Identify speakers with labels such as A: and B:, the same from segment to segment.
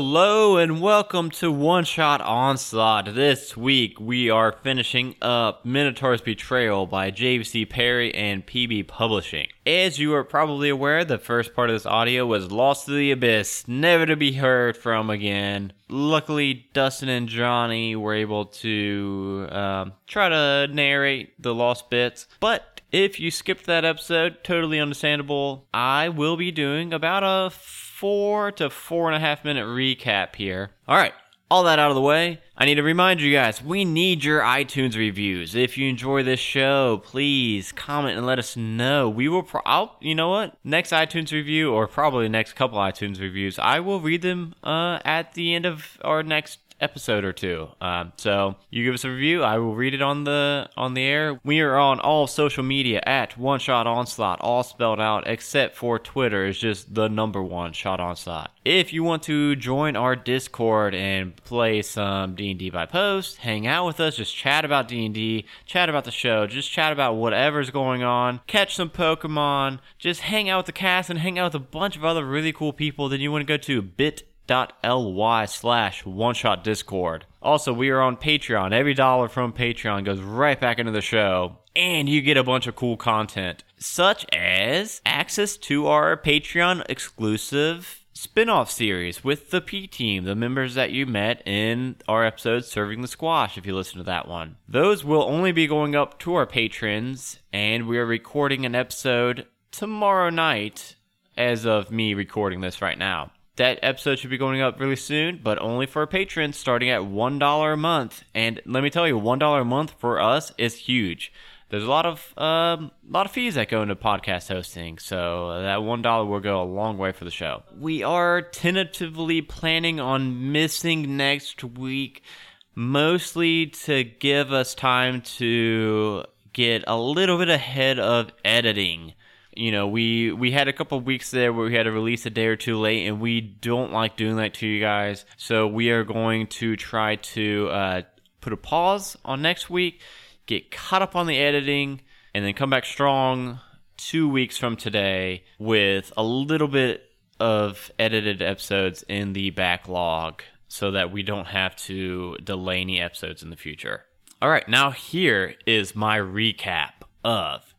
A: Hello and welcome to One Shot Onslaught. This week we are finishing up Minotaur's Betrayal by JVC Perry and PB Publishing. As you are probably aware, the first part of this audio was lost to the abyss, never to be heard from again. Luckily, Dustin and Johnny were able to um, try to narrate the lost bits, but if you skipped that episode, totally understandable. I will be doing about a four to four and a half minute recap here. All right, all that out of the way, I need to remind you guys we need your iTunes reviews. If you enjoy this show, please comment and let us know. We will, pro- I'll, you know what, next iTunes review or probably next couple iTunes reviews, I will read them uh, at the end of our next episode or two. Um, so you give us a review, I will read it on the on the air. We are on all social media at One Shot Onslaught, all spelled out except for Twitter is just the number one Shot Onslaught. If you want to join our Discord and play some D and D by post, hang out with us, just chat about D and D, chat about the show, just chat about whatever's going on, catch some Pokemon, just hang out with the cast and hang out with a bunch of other really cool people. Then you want to go to bit bit.ly slash one shot discord. Also, we are on Patreon. Every dollar from Patreon goes right back into the show, and you get a bunch of cool content, such as access to our Patreon exclusive spin-off series with the P team, the members that you met in our episode Serving the Squash if you listen to that one. Those will only be going up to our patrons and we are recording an episode tomorrow night as of me recording this right now. That episode should be going up really soon, but only for patrons starting at $1 a month. And let me tell you, $1 a month for us is huge. There's a lot of um, lot of fees that go into podcast hosting, so that one dollar will go a long way for the show. We are tentatively planning on missing next week, mostly to give us time to get a little bit ahead of editing you know we we had a couple weeks there where we had to release a day or two late and we don't like doing that to you guys so we are going to try to uh, put a pause on next week get caught up on the editing and then come back strong two weeks from today with a little bit of edited episodes in the backlog so that we don't have to delay any episodes in the future all right now here is my recap of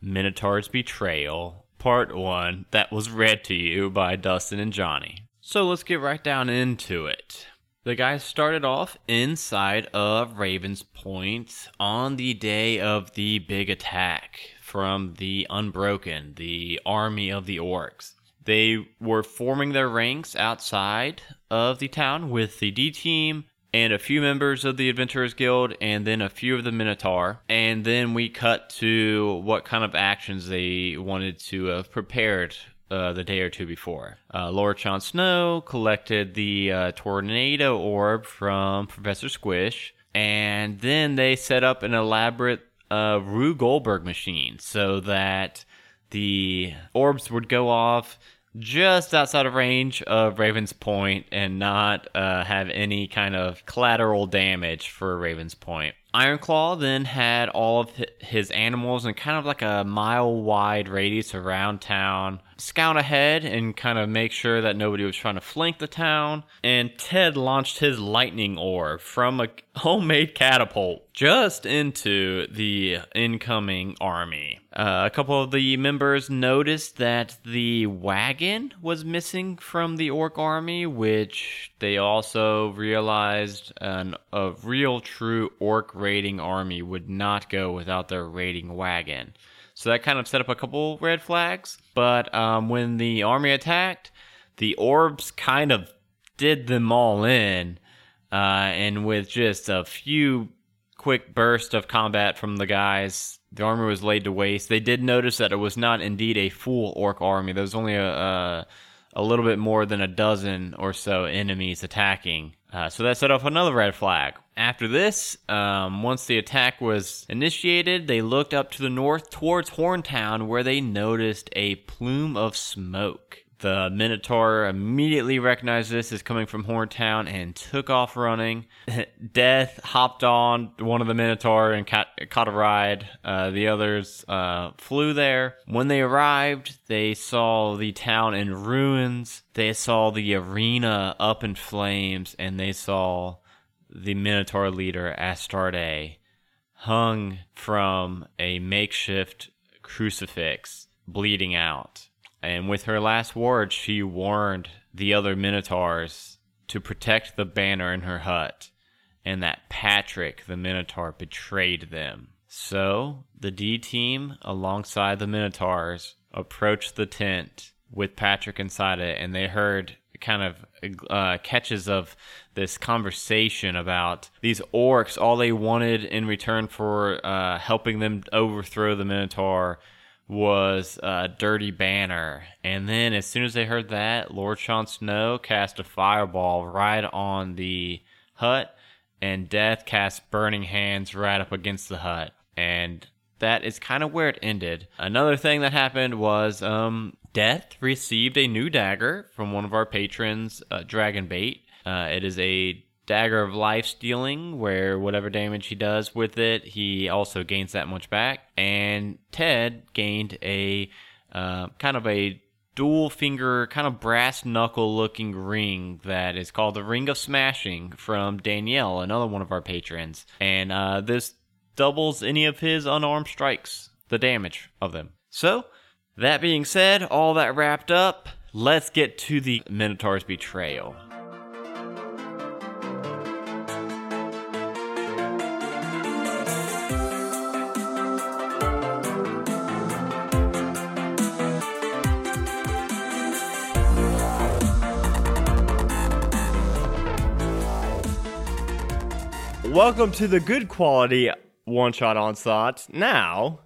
A: Minotaur's Betrayal, Part 1, that was read to you by Dustin and Johnny. So let's get right down into it. The guys started off inside of Raven's Point on the day of the big attack from the Unbroken, the army of the orcs. They were forming their ranks outside of the town with the D team and a few members of the Adventurers Guild, and then a few of the Minotaur. And then we cut to what kind of actions they wanted to have prepared uh, the day or two before. Uh, Laura Chon Snow collected the uh, tornado orb from Professor Squish, and then they set up an elaborate uh, Rue Goldberg machine so that the orbs would go off just outside of range of Raven's Point and not uh, have any kind of collateral damage for Raven's Point. Ironclaw then had all of hi- his animals in kind of like a mile wide radius around town, scout ahead and kind of make sure that nobody was trying to flank the town. And Ted launched his lightning orb from a homemade catapult just into the incoming army. Uh, a couple of the members noticed that the wagon was missing from the orc army, which they also realized an, a real true orc raiding army would not go without their raiding wagon. So that kind of set up a couple red flags. But um, when the army attacked, the orbs kind of did them all in. Uh, and with just a few quick bursts of combat from the guys, the army was laid to waste. They did notice that it was not indeed a full orc army. There was only a, a, a little bit more than a dozen or so enemies attacking. Uh, so that set off another red flag. After this, um, once the attack was initiated, they looked up to the north towards Horntown where they noticed a plume of smoke. The Minotaur immediately recognized this as coming from Horntown and took off running. Death hopped on one of the Minotaur and ca- caught a ride. Uh, the others uh, flew there. When they arrived, they saw the town in ruins. They saw the arena up in flames, and they saw the Minotaur leader Astarte hung from a makeshift crucifix, bleeding out. And with her last words, she warned the other Minotaurs to protect the banner in her hut, and that Patrick the Minotaur betrayed them. So the D team, alongside the Minotaurs, approached the tent with Patrick inside it, and they heard kind of uh, catches of this conversation about these orcs. All they wanted in return for uh, helping them overthrow the Minotaur was a dirty banner. And then, as soon as they heard that, Lord Sean Snow cast a fireball right on the hut, and Death cast burning hands right up against the hut. And that is kind of where it ended. Another thing that happened was um, Death received a new dagger from one of our patrons, uh, Dragonbait. Uh, it is a dagger of life stealing, where whatever damage he does with it, he also gains that much back. And Ted gained a uh, kind of a dual finger, kind of brass knuckle looking ring that is called the Ring of Smashing from Danielle, another one of our patrons. And uh, this doubles any of his unarmed strikes, the damage of them. So, that being said, all that wrapped up, let's get to the Minotaur's betrayal. Welcome to the good quality one shot onslaught. Now,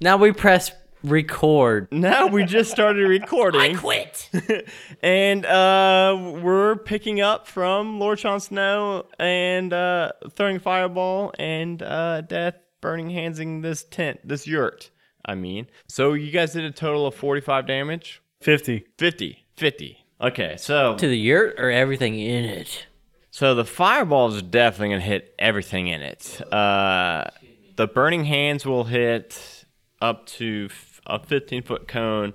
B: Now we press record.
A: now we just started recording.
B: Quit.
A: and uh, we're picking up from Lord Sean Snow and uh, throwing fireball and uh, death burning hands in this tent, this yurt. I mean, so you guys did a total of 45 damage?
C: 50.
A: 50. 50. Okay, so
B: to the yurt or everything in it.
A: so the fireballs are definitely gonna hit everything in it. Uh, the burning hands will hit up to f- a 15 foot cone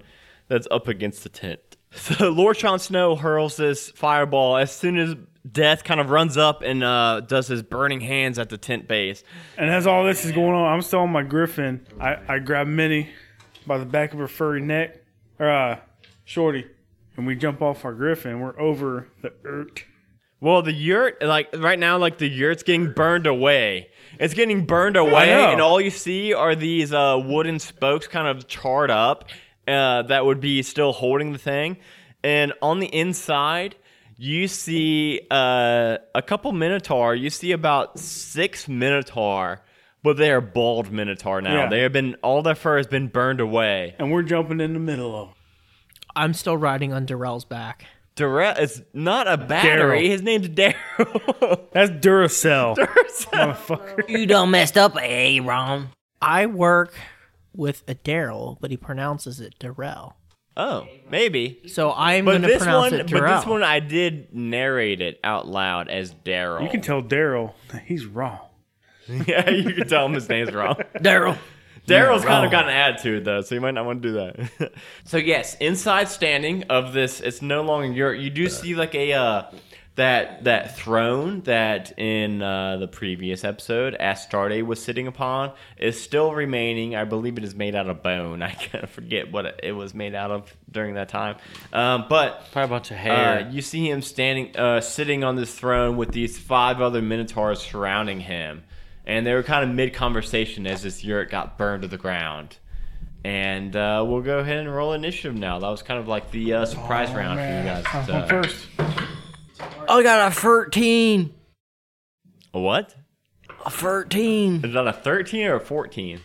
A: that's up against the tent. So Lord Sean Snow hurls this fireball as soon as Death kind of runs up and uh, does his burning hands at the tent base.
C: And as all this is going on, I'm still on my griffin. I, I grab Minnie by the back of her furry neck, or uh, Shorty, and we jump off our griffin. We're over the earth.
A: Well, the yurt, like right now, like the yurt's getting burned away. It's getting burned away,
C: know.
A: and all you see are these uh, wooden spokes kind of charred up uh, that would be still holding the thing. And on the inside, you see uh, a couple minotaur. You see about six minotaur, but they are bald minotaur now.
C: Yeah.
A: They have been all their fur has been burned away.
C: And we're jumping in the middle of 'em.
D: I'm still riding on Darrell's back.
A: Darrell, it's not a battery.
C: Daryl.
A: His name's Daryl.
C: That's Duracell. Motherfucker.
B: You done messed up, Aaron.
D: I work with a Daryl, but he pronounces it Darrell.
A: oh, maybe.
D: So I'm
A: But
D: going to
A: this
D: pronounce
A: one,
D: it
A: but
D: Darrell.
A: this one, I did narrate it out loud as Daryl.
C: You can tell Daryl that he's wrong.
A: yeah, you can tell him his name's wrong.
B: Daryl.
A: Daryl's kind of got an attitude though, so you might not want to do that. so yes, inside standing of this, it's no longer your. You do see like a uh, that that throne that in uh, the previous episode Astarte was sitting upon is still remaining. I believe it is made out of bone. I kind of forget what it was made out of during that time, um, but.
B: Probably a bunch of
A: Uh,
B: hair.
A: you see him standing, uh, sitting on this throne with these five other minotaurs surrounding him, and they were kind of mid conversation as this yurt got burned to the ground. And uh, we'll go ahead and roll initiative now. That was kind of like the uh, surprise
B: Oh,
A: round for you guys.
C: I'm
A: Uh,
C: first.
B: I got a 13.
A: a what?
B: A 13.
A: Is that a thirteen or a fourteen?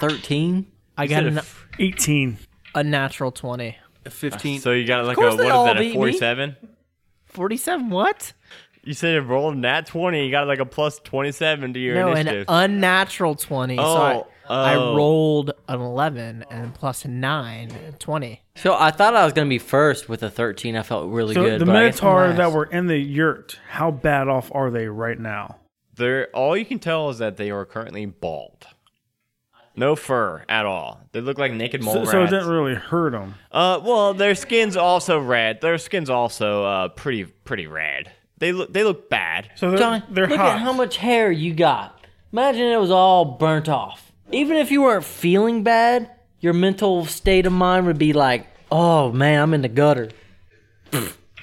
B: 13?
D: I got a, na-
C: 18.
D: a natural 20.
B: 15.
A: So you got like a
B: course
A: what is
B: they all
A: that?
B: beat
A: A
B: me.
A: forty-seven?
D: 47 what?
A: You said you rolled a nat twenty. You got like a plus twenty-seven to your
D: No, an
A: initiative.
D: unnatural 20. so I-
A: oh,
D: I
A: Oh.
D: rolled an 11 and plus 9, 20.
B: So I thought I was gonna be first with a thirteen. I felt really
C: So
B: good.
C: the
B: but I guess I'm
C: Minotaur
B: last.
C: that were in the yurt, how bad off are they right now?
A: They're all you can tell is that they are currently bald. No fur at all. They look like naked mole
C: So, so it
A: rats.
C: didn't really hurt them.
A: uh, well, their skin's also red. Their skin's also uh pretty pretty red. They look they look bad.
C: So they're,
B: John,
C: they're
B: look
C: hot.
B: at how much hair you got. Imagine it was all burnt off. Even if you weren't feeling bad, your mental state of mind would be like, "Oh man, I'm in the gutter."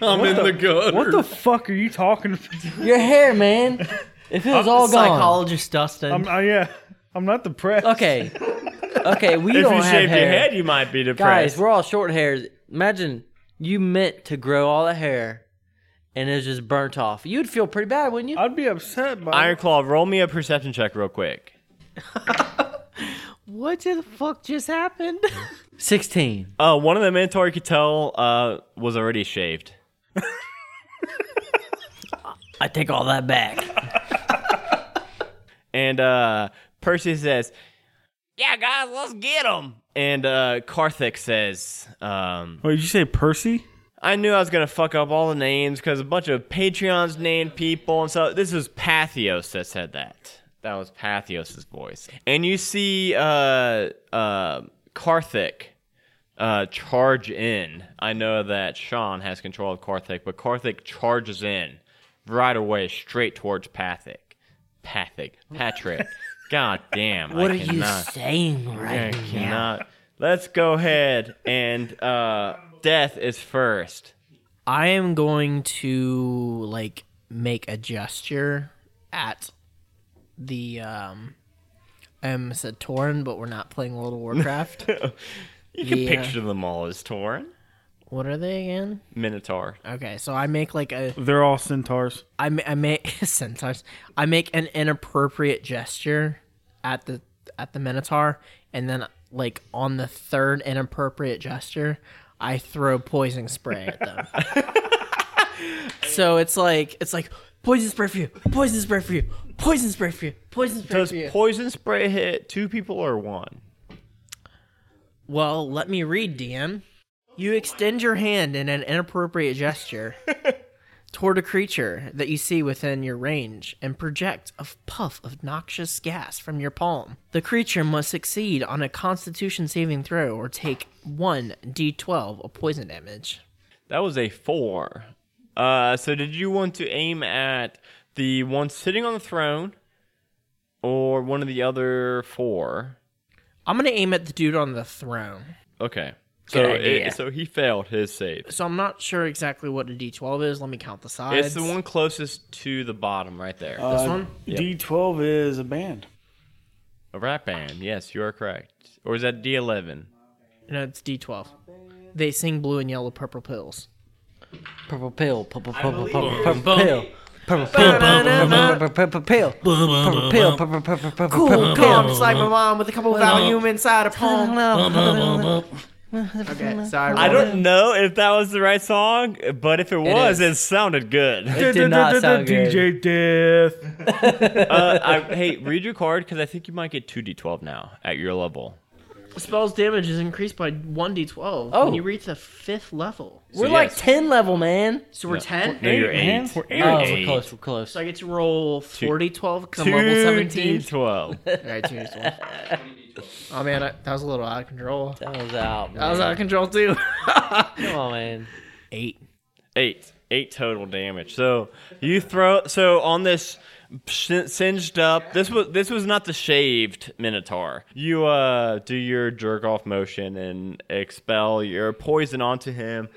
A: I'm in the gutter.
C: what the fuck are you talking about?
B: Your hair, man. If it was
C: Uh,
B: all gone.
D: Psychologist Dustin.
A: Um,
C: I'm, uh, yeah, I'm not depressed.
B: Okay. Okay, we
A: If
B: don't
A: you
B: have
A: shaved
B: hair.
A: your head, you might be depressed.
B: Guys, we're all short hairs. Imagine you meant to grow all the hair and it's just burnt off. You'd feel pretty bad, wouldn't you?
C: I'd be upset by it.
A: Ironclaw, roll me a perception check real quick.
D: what the fuck just happened?
B: 16.
A: Uh, one of the Minotaur you could tell uh was already shaved.
B: I take all that back.
A: And uh, Percy says, "Yeah, guys, let's get them." And uh, Karthik says, um,
C: Wait, did you say Percy?
A: "I knew I was gonna fuck up all the names because a bunch of Patreons named people, and so this is Pathios that said that. That was Pathios' voice." And you see uh, uh, Karthik uh, charge in. I know that Sean has control of Karthik, but Karthik charges in right away, straight towards Pathic. Pathic, Patrick. God damn!
B: What
A: I
B: are you
A: cannot.
B: saying
A: I
B: right now?
A: cannot. Let's go ahead and uh, death is first.
D: I am going to like make a gesture at the um I'm said Torin, but we're not playing World of Warcraft.
A: You can
D: Yeah.
A: picture them all as Torin,
D: what are they again?
A: Minotaur.
D: Okay, so I make like a
C: They're all centaurs.
D: I ma- I make centaurs. I make an inappropriate gesture at the at the Minotaur, and then like on the third inappropriate gesture, I throw poison spray at them. so it's like it's like poison spray for you, poison spray for you, poison spray for you, poison spray
A: Does
D: for you.
A: poison spray hit two people or one?
D: well, let me read, DM. You extend your hand in an inappropriate gesture toward a creature that you see within your range and project a puff of noxious gas from your palm. The creature must succeed on a constitution saving throw or take 1d12 of poison damage.
A: That was a four. Uh, so did you want to aim at the one sitting on the throne, or one of the other four?
D: I'm going to aim at the dude on the throne.
A: Okay. So
B: Good idea.
A: it, so he failed his save.
D: So I'm not sure exactly what a d12 is. Let me count the sides.
A: It's the one closest to the bottom right there.
C: Uh,
D: This
B: Uh,
D: one?
C: D12 is a band.
A: a rap band. Yes, you are correct. Or is that D11?
D: No, it's d12. They sing blue and yellow purple pills.
B: Purple pill, purple, purple, purple, purple pill. Purple pill, purple, purple pill. Purple pill, purple, purple, purple,
D: Cool,
B: purple
D: calm, like my mom with a couple of volume inside a palm.
B: pill.
D: Okay, sorry.
A: I don't know if that was the right song, but if it was,
B: is.
A: it sounded good.
B: It did not sound good.
C: DJ Death.
A: uh, I, hey, read your card because I think you might get 2d12 now at your level.
D: Spell's damage is increased by 1d12
B: Oh.
D: when you reach the fifth level.
B: We're
A: So,
B: like
A: yes.
B: 10 level, man.
D: So we're 10?
A: No, you're
C: Eight, man.
A: 8.
C: We're eight.
A: You're
B: Oh, we're
A: eight.
B: close, we're close.
D: So I get to roll 4d12, come level 17.
A: 2d12.
D: Alright, 2d12. Oh man, I, that was a little out of control.
B: That was out,
D: That
B: man.
D: was out of control too.
B: Come on, man.
D: 8.
A: 8. 8 total damage. So you throw. So on this sin- singed up this was this was not the shaved minotaur you uh do your jerk off motion and expel your poison onto him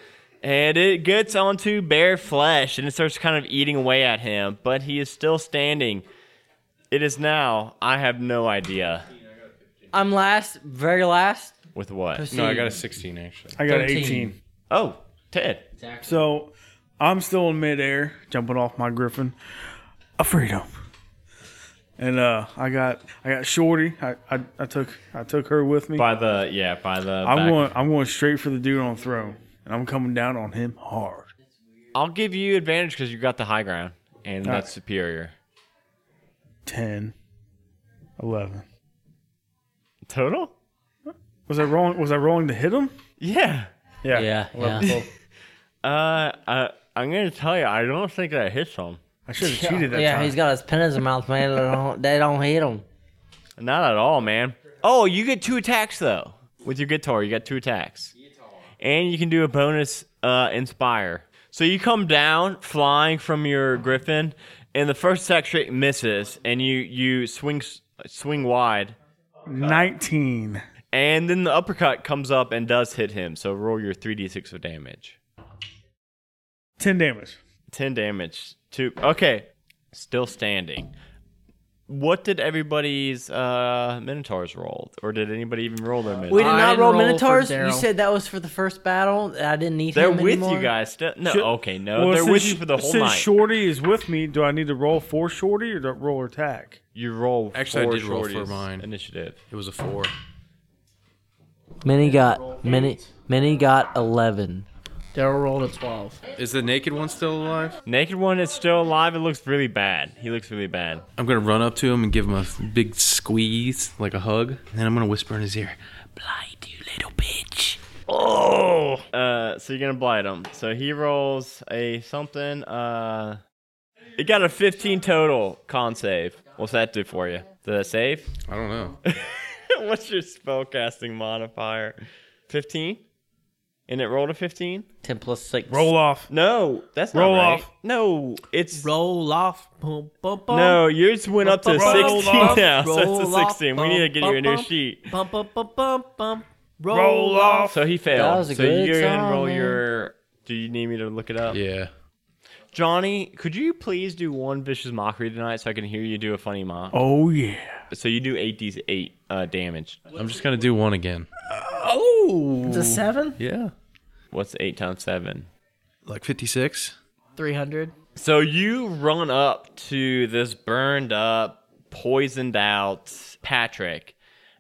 A: and it gets onto bare flesh and it starts kind of eating away at him but he is still standing it is now i have no idea
B: I'm last, very last.
A: with what
E: No, I got a 16 actually.
C: I got
B: 13.
C: 18.
A: oh ted
C: So I'm still in midair, jumping off my griffin. A freedom. And uh, I got I got Shorty. I, I, I took I took her with me.
A: by the yeah by the
C: I'm
A: back.
C: going I'm going straight for the dude on the throne, and I'm coming down on him hard.
A: i'll give you advantage because you got the high ground and that's superior
C: 10, 11,
A: total?
C: Was I rolling? Was I rolling to hit him?
A: Yeah.
C: Yeah.
B: Yeah,
C: Eleven,
B: yeah.
C: 12.
A: Uh, I, I'm gonna tell you, I don't think that hits him.
C: I should have cheated that
B: yeah,
C: time.
B: he's got his pen in his mouth, man. They don't, they don't hit him.
A: Not at all, man. Oh, you get two attacks though with your guitar. You got two attacks, and you can do a bonus uh, inspire. So you come down flying from your griffin, and the first attack straight misses, and you you swing s- swing wide,
C: nineteen.
A: and then the uppercut comes up and does hit him. So roll your three d six of damage.
C: 10 damage.
A: 10 damage to okay still standing what did everybody's uh minotaurs roll or did anybody even roll their
B: We
A: minotaurs
B: did
D: I
B: not
D: didn't
B: roll
D: roll for
B: minotaurs. You
D: Daryl.
B: said that was for the first battle. I didn't need
A: they're
B: him
A: with
B: anymore.
A: you guys still no
C: Should-
A: okay no
C: Well,
A: they're
C: since-
A: with you for the whole
C: since
A: night
C: Shorty is with me, do I need to roll for Shorty or do I roll attack?
A: you roll
E: Actually, I
A: four
E: did roll for
A: shorties
E: mine.
A: initiative
E: It was a four.
B: Mini got mini mini got eleven.
D: Daryl rolled a 12.
E: Is the naked one still alive?
A: naked one is still alive it looks really bad he looks really bad
E: I'm gonna run up to him and give him a big squeeze, like a hug, and then I'm gonna whisper in his ear, "Blind you, little bitch."
A: oh uh so you're gonna blight him so he rolls a something uh it got a 15 total con save what's that do for you did that save
E: I don't know.
A: What's your spellcasting modifier? 15? And it rolled a 15?
B: Ten plus six.
C: Roll off.
A: No, that's not
C: Roll
A: right.
C: off.
A: No, it's
D: Roll off. Boom, boom, boom.
A: No, yours went up to
D: Roll
A: 16
C: off.
A: now. so it's
D: Roll
A: a
D: off.
A: 16. we need to get you a new
D: Bum,
A: sheet.
D: Bum, bum, bum, bum, bum. Roll,
C: Roll off.
A: So he failed.
B: That was a
A: so
B: good
A: you're
B: song,
A: gonna roll
B: man.
A: your Do you need me to look it up?
E: Yeah.
A: Johnny, could you please do one vicious mockery tonight so I can hear you do a funny mock?
C: Oh, yeah.
A: So you do 8d8 uh, damage.
E: I'm just gonna do one again.
D: It's a 7?
E: Yeah.
A: What's 8 times 7?
E: Like 56.
D: 300.
A: So you run up to this burned up, poisoned out Patrick,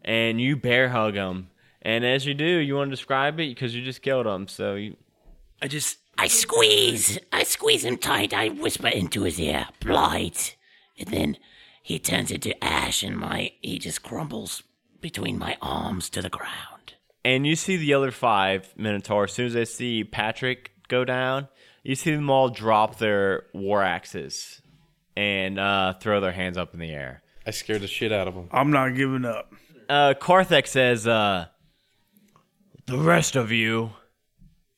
A: and you bear hug him. And as you do, you want to describe it because you just killed him. So you,
F: I just. I squeeze. I squeeze him tight. I whisper into his ear, blight. And then he turns into ash and my. He just crumbles between my arms to the ground.
A: and you see the other five Minotaur. As soon as they see Patrick go down, you see them all drop their war axes and uh, throw their hands up in the air.
E: I scared the shit out of him.
C: I'm not giving up.
A: uh, Karthek says, uh, "The rest of you,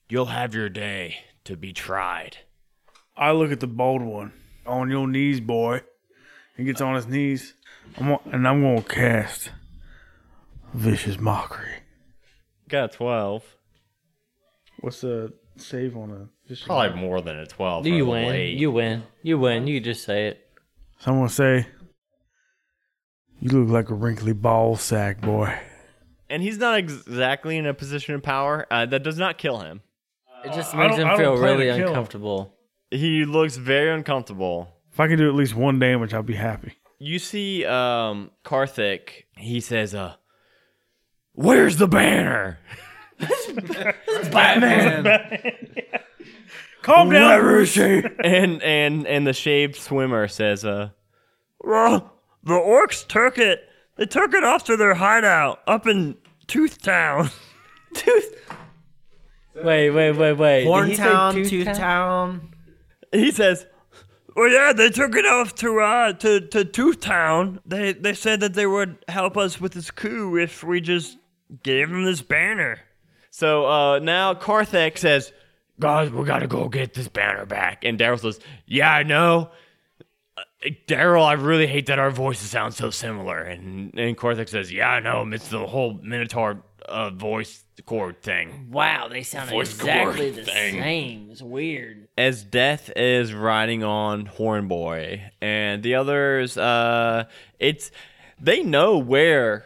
A: you'll have your day to be tried."
C: I look at the bald one. On your knees, boy. He gets on his knees. I'm gonna- and I'm going to cast Vicious Mockery.
A: Got a twelve.
C: What's the save on a vicious
A: Probably more than a twelve.
B: You
A: for
B: win.
A: late.
B: You win. You win. You just say it.
C: So I'm going to say, You look like a wrinkly ball sack, boy.
A: and he's not exactly in a position of power. Uh, that does not kill him.
B: It just
C: I
B: makes
C: don't- I
B: him
C: don't
B: feel
C: plan to
B: really
C: kill him.
B: uncomfortable.
A: He looks very uncomfortable.
C: If I can do at least one damage, I'll be happy.
A: You see, um, Karthik. He says, "Uh, where's the banner?"
C: Calm down.
A: and and and the shaved swimmer says, "Uh, well, the orcs took it. They took it off to their hideout up in Tooth Town. Tooth."
B: Wait, wait, wait, wait. Did he
D: Horn
B: say
D: Town,
B: Tooth
D: Tooth Town.
A: He says, "Well, yeah, they took it off to uh to to Tooth Town. They they said that they would help us with this coup if we just gave them this banner." So uh now Karthek says, "Guys, we gotta go get this banner back." And Daryl says, "Yeah, I know." Uh, Daryl, I really hate that our voices sound so similar. And and Korthik says, Yeah, I know. It's the whole Minotaur uh, voice chord thing.
B: Wow, they sound exactly the same. It's weird.
A: As Death is riding on Hornboy, and the others, uh, it's they know where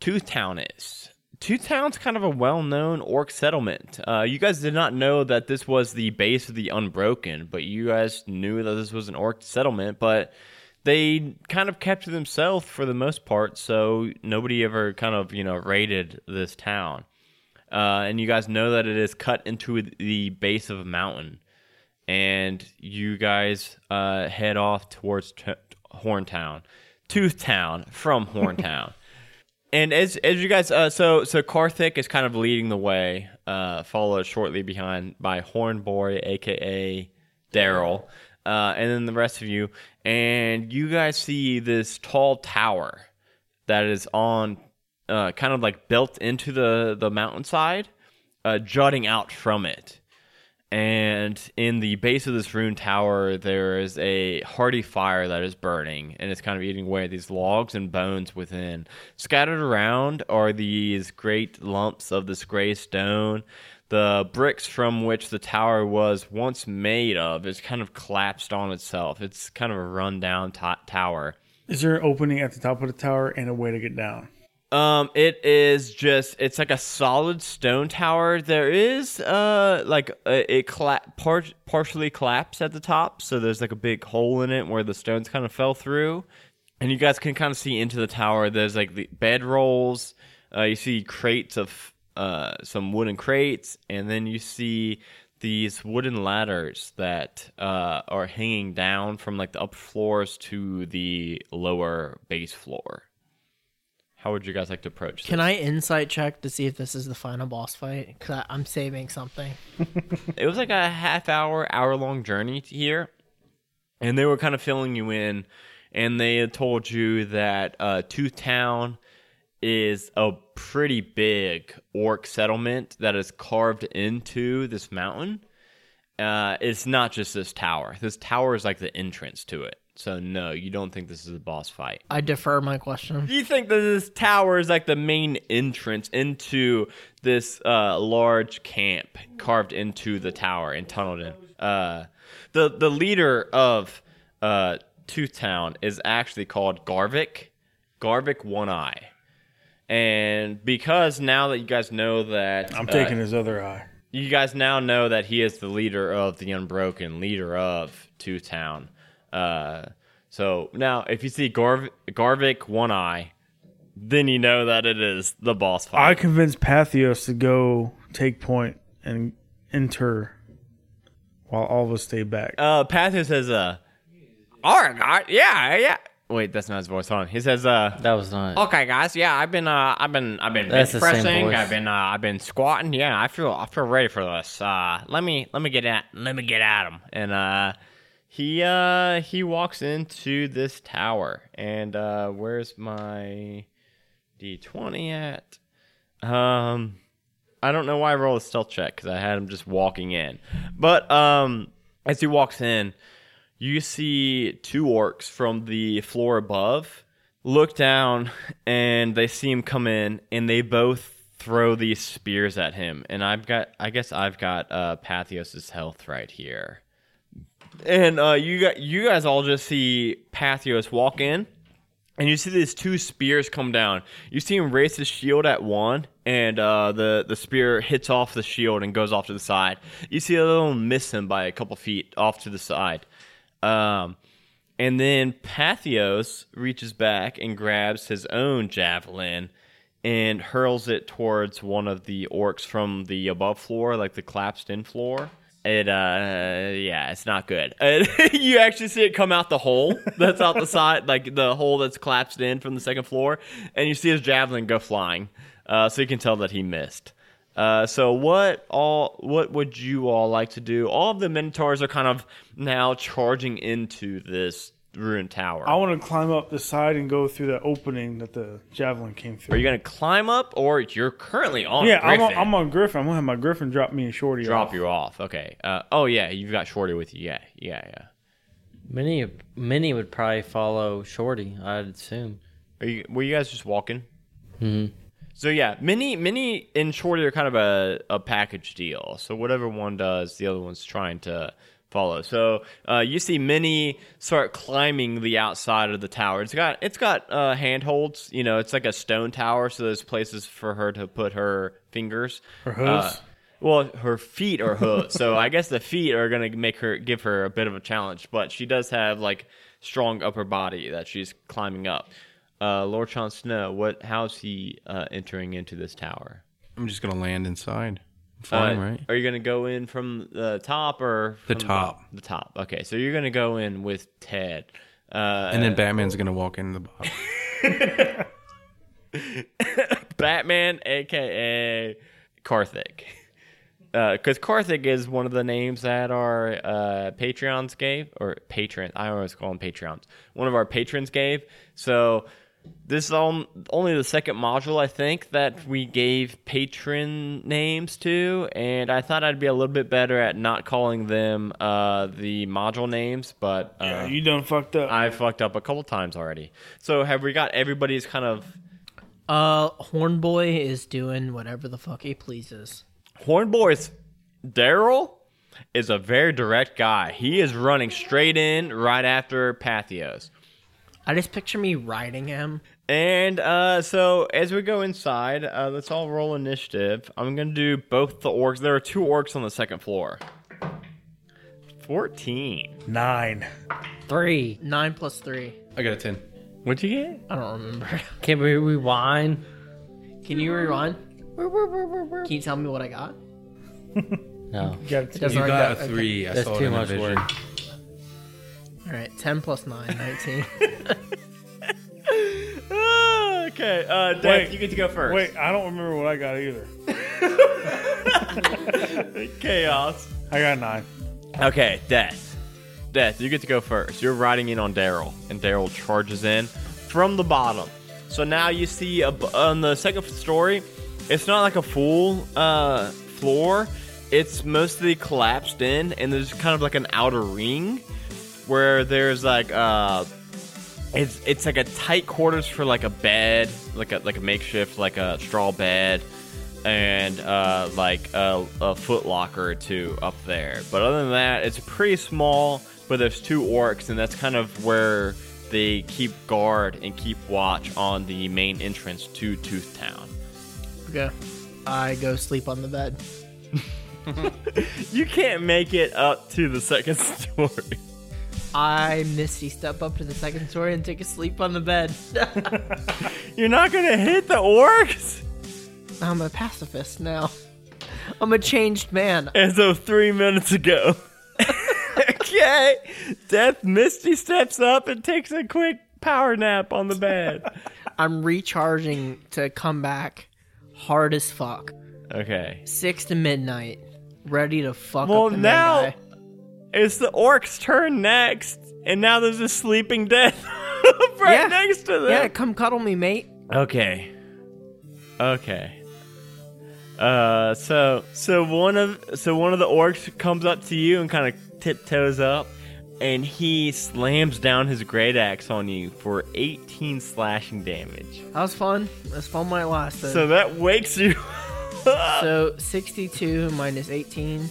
A: Toothtown is. Toothtown's kind of a well-known orc settlement. Uh, you guys did not know that this was the base of the Unbroken, but you guys knew that this was an orc settlement. But they kind of kept to themselves for the most part, so nobody ever kind of you know raided this town. Uh, and you guys know that it is cut into the base of a mountain, and you guys uh, head off towards t- Horntown, Toothtown from Horntown. And as as you guys, uh, so so Karthik is kind of leading the way, uh, followed shortly behind by Horn Boy, aka Daryl, uh, and then the rest of you. And you guys see this tall tower that is on, uh, kind of like built into the the mountainside, uh, jutting out from it. And in the base of this rune tower, there is a hearty fire that is burning, and it's kind of eating away at these logs and bones within. Scattered around are these great lumps of this gray stone. The bricks from which the tower was once made of is kind of collapsed on itself. It's kind of a rundown to tower.
C: Is there an opening at the top of the tower and a way to get down?
A: Um, it is just it's like a solid stone tower. There is uh like uh, it colla- par- partially collapsed at the top, so there's like a big hole in it where the stones kind of fell through, and you guys can kind of see into the tower. There's like the bed rolls. Uh, you see crates of uh some wooden crates, and then you see these wooden ladders that uh are hanging down from like the upper floors to the lower base floor. How would you guys like to approach this?
D: Can I insight check to see if this is the final boss fight? Because I'm saving something.
A: it was like a half hour, hour long journey to here, and they were kind of filling you in, and they had told you that uh, Tooth Town is a pretty big orc settlement that is carved into this mountain. Uh, it's not just this tower. This tower is like the entrance to it. So no, you don't think this is a boss fight.
D: I defer my question.
A: Do you think that this tower is like the main entrance into this uh, large camp carved into the tower and tunneled in? Uh, the the leader of uh, Tooth Town is actually called Garvik, Garvik One Eye, and because now that you guys know that
C: I'm
A: uh,
C: taking his other eye.
A: you guys now know that he is the leader of the Unbroken, leader of Two Town. Uh, so now, if you see Garv- Garvik One Eye, then you know that it is the boss
C: I
A: fight.
C: convinced Pathios to go take point and enter while all of us stay back.
A: uh, Pathu says, uh, "All right, guys, yeah, yeah." Wait, that's not his voice. Hold on. He says, uh,
B: That was not.
A: "Okay, guys, yeah, I've been, uh, I've been, I've been
B: That's
A: bench
B: the same
A: pressing.
B: voice.
A: I've been, uh, I've been squatting. Yeah, I feel, I feel ready for this. Uh, let me, let me get at, let me get at him." And uh, he, uh, he walks into this tower. And uh, where's my d twenty at? Um, I don't know why I rolled a stealth check because I had him just walking in. But um, as he walks in, you see two orcs from the floor above look down and they see him come in and they both throw these spears at him and i've got i guess i've got uh pathios's health right here and uh you got you guys all just see pathios walk in and you see these two spears come down. You see him raise his shield at one, and uh, the the spear hits off the shield and goes off to the side. You see a little miss him by a couple feet off to the side, um, and then Pathios reaches back and grabs his own javelin and hurls it towards one of the orcs from the above floor, like the collapsed in floor. It uh yeah, it's not good. Uh, you actually see it come out the hole that's out the side, like the hole that's collapsed in from the second floor, and you see his javelin go flying. Uh, so you can tell that he missed. Uh, so what all what would you all like to do? All of the minotaurs are kind of now charging into this ruined tower.
C: I want to climb up the side and go through the opening that the javelin came through.
A: are you gonna climb up, or you're currently on?
C: yeah, I'm on,
A: Griffin.
C: I'm on Griffin. I'm gonna have my Griffin drop me and Shorty.
A: drop
C: off.
A: you off. Okay. Uh, oh yeah, you've got Shorty with you. Yeah, yeah, yeah.
B: Many, many would probably follow Shorty. I'd assume.
A: Are you, were you guys just walking? Mm-hmm. So yeah, mini, mini, and shorty are kind of a, a package deal. So whatever one does, the other one's trying to follow. So uh, you see mini start climbing the outside of the tower. It's got it's got uh, handholds. You know, it's like a stone tower, so there's places for her to put her fingers. Uh, Her
C: hooves?
A: well, her feet are hooked, so I guess the feet are gonna make her give her a bit of a challenge. But she does have like strong upper body that she's climbing up. Uh, Lord Chon Snow, what? How's he uh, entering into this tower?
E: I'm just gonna land inside. Fine,
A: Uh,
E: right?
A: Are you gonna go in from the top or
E: The
A: from
E: top.
A: The, top. Okay, so you're gonna go in with Ted. Uh,
E: And then Batman's gonna walk into the bottom.
A: Batman, aka Karthik. Because Karthik is one of the names that our uh, Patreons gave, or patron, I always call them Patreons, one of our patrons gave. So this is on, only the second module, I think, that we gave patron names to. And I thought I'd be a little bit better at not calling them uh, the module names, but. Uh,
C: Yeah, you done fucked up.
A: I fucked up a couple times already. So have we got everybody's kind of
D: Uh, Hornboy is doing whatever the fuck he pleases.
A: Horn Boys, Daryl is a very direct guy. He is running straight in right after Pathios.
D: I just picture me riding him.
A: And uh, so as we go inside, uh, let's all roll initiative. I'm gonna do both the orcs. There are two orcs on the second floor. Fourteen.
C: Nine.
B: Three.
D: Nine plus three.
E: I got a 10.
A: What'd you get?
D: I don't remember.
B: Can we rewind?
D: Can you rewind? Can you tell me what I got?
B: No.
C: You got
D: Doesn't
E: You
D: work
E: got
D: out.
E: a 3. I
B: That's
E: saw it
B: too
E: in my
B: much
E: vision.
B: work.
D: All right, 10 plus 9, 19.
A: Ah, okay, uh, Dave,
C: Wait.
A: you get to go first.
C: Wait, I don't remember what I got either.
A: chaos.
C: I got nine.
A: Okay, Death. Death, you get to go first. You're riding in on Daryl, and Daryl charges in from the bottom. So now you see a, on the second story, it's not like a full uh, floor. It's mostly collapsed in, and there's kind of like an outer ring where there's like uh, it's it's like a tight quarters for like a bed, like a like a makeshift like a straw bed, and uh, like a, a foot locker or two up there. But other than that, it's pretty small. But there's two orcs, and that's kind of where they keep guard and keep watch on the main entrance to Tooth Town.
D: okay. I go sleep on the bed.
A: You can't make it up to the second story.
D: I misty step up to the second story and take a sleep on the bed.
A: You're not gonna hit the orcs.
D: I'm a pacifist now. I'm a changed man.
A: as of three minutes ago. okay. Death Misty steps up and takes a quick power nap on the bed.
D: I'm recharging to come back hard as fuck.
A: Okay.
D: Six to midnight, ready to fuck
A: Well,
D: up the main
A: now-
D: guy.
A: It's the orc's turn next, and now there's a sleeping death right
D: Yeah.
A: next to them.
D: Yeah, come cuddle me, mate.
A: Okay. Okay. Uh, so so one of so one of the orcs comes up to you and kind of tiptoes up, and he slams down his great axe on you for 18 slashing damage.
D: That was fun. That's fun while it lasted.
A: So
D: So,
A: that wakes you. up.
D: 62 minus 18. All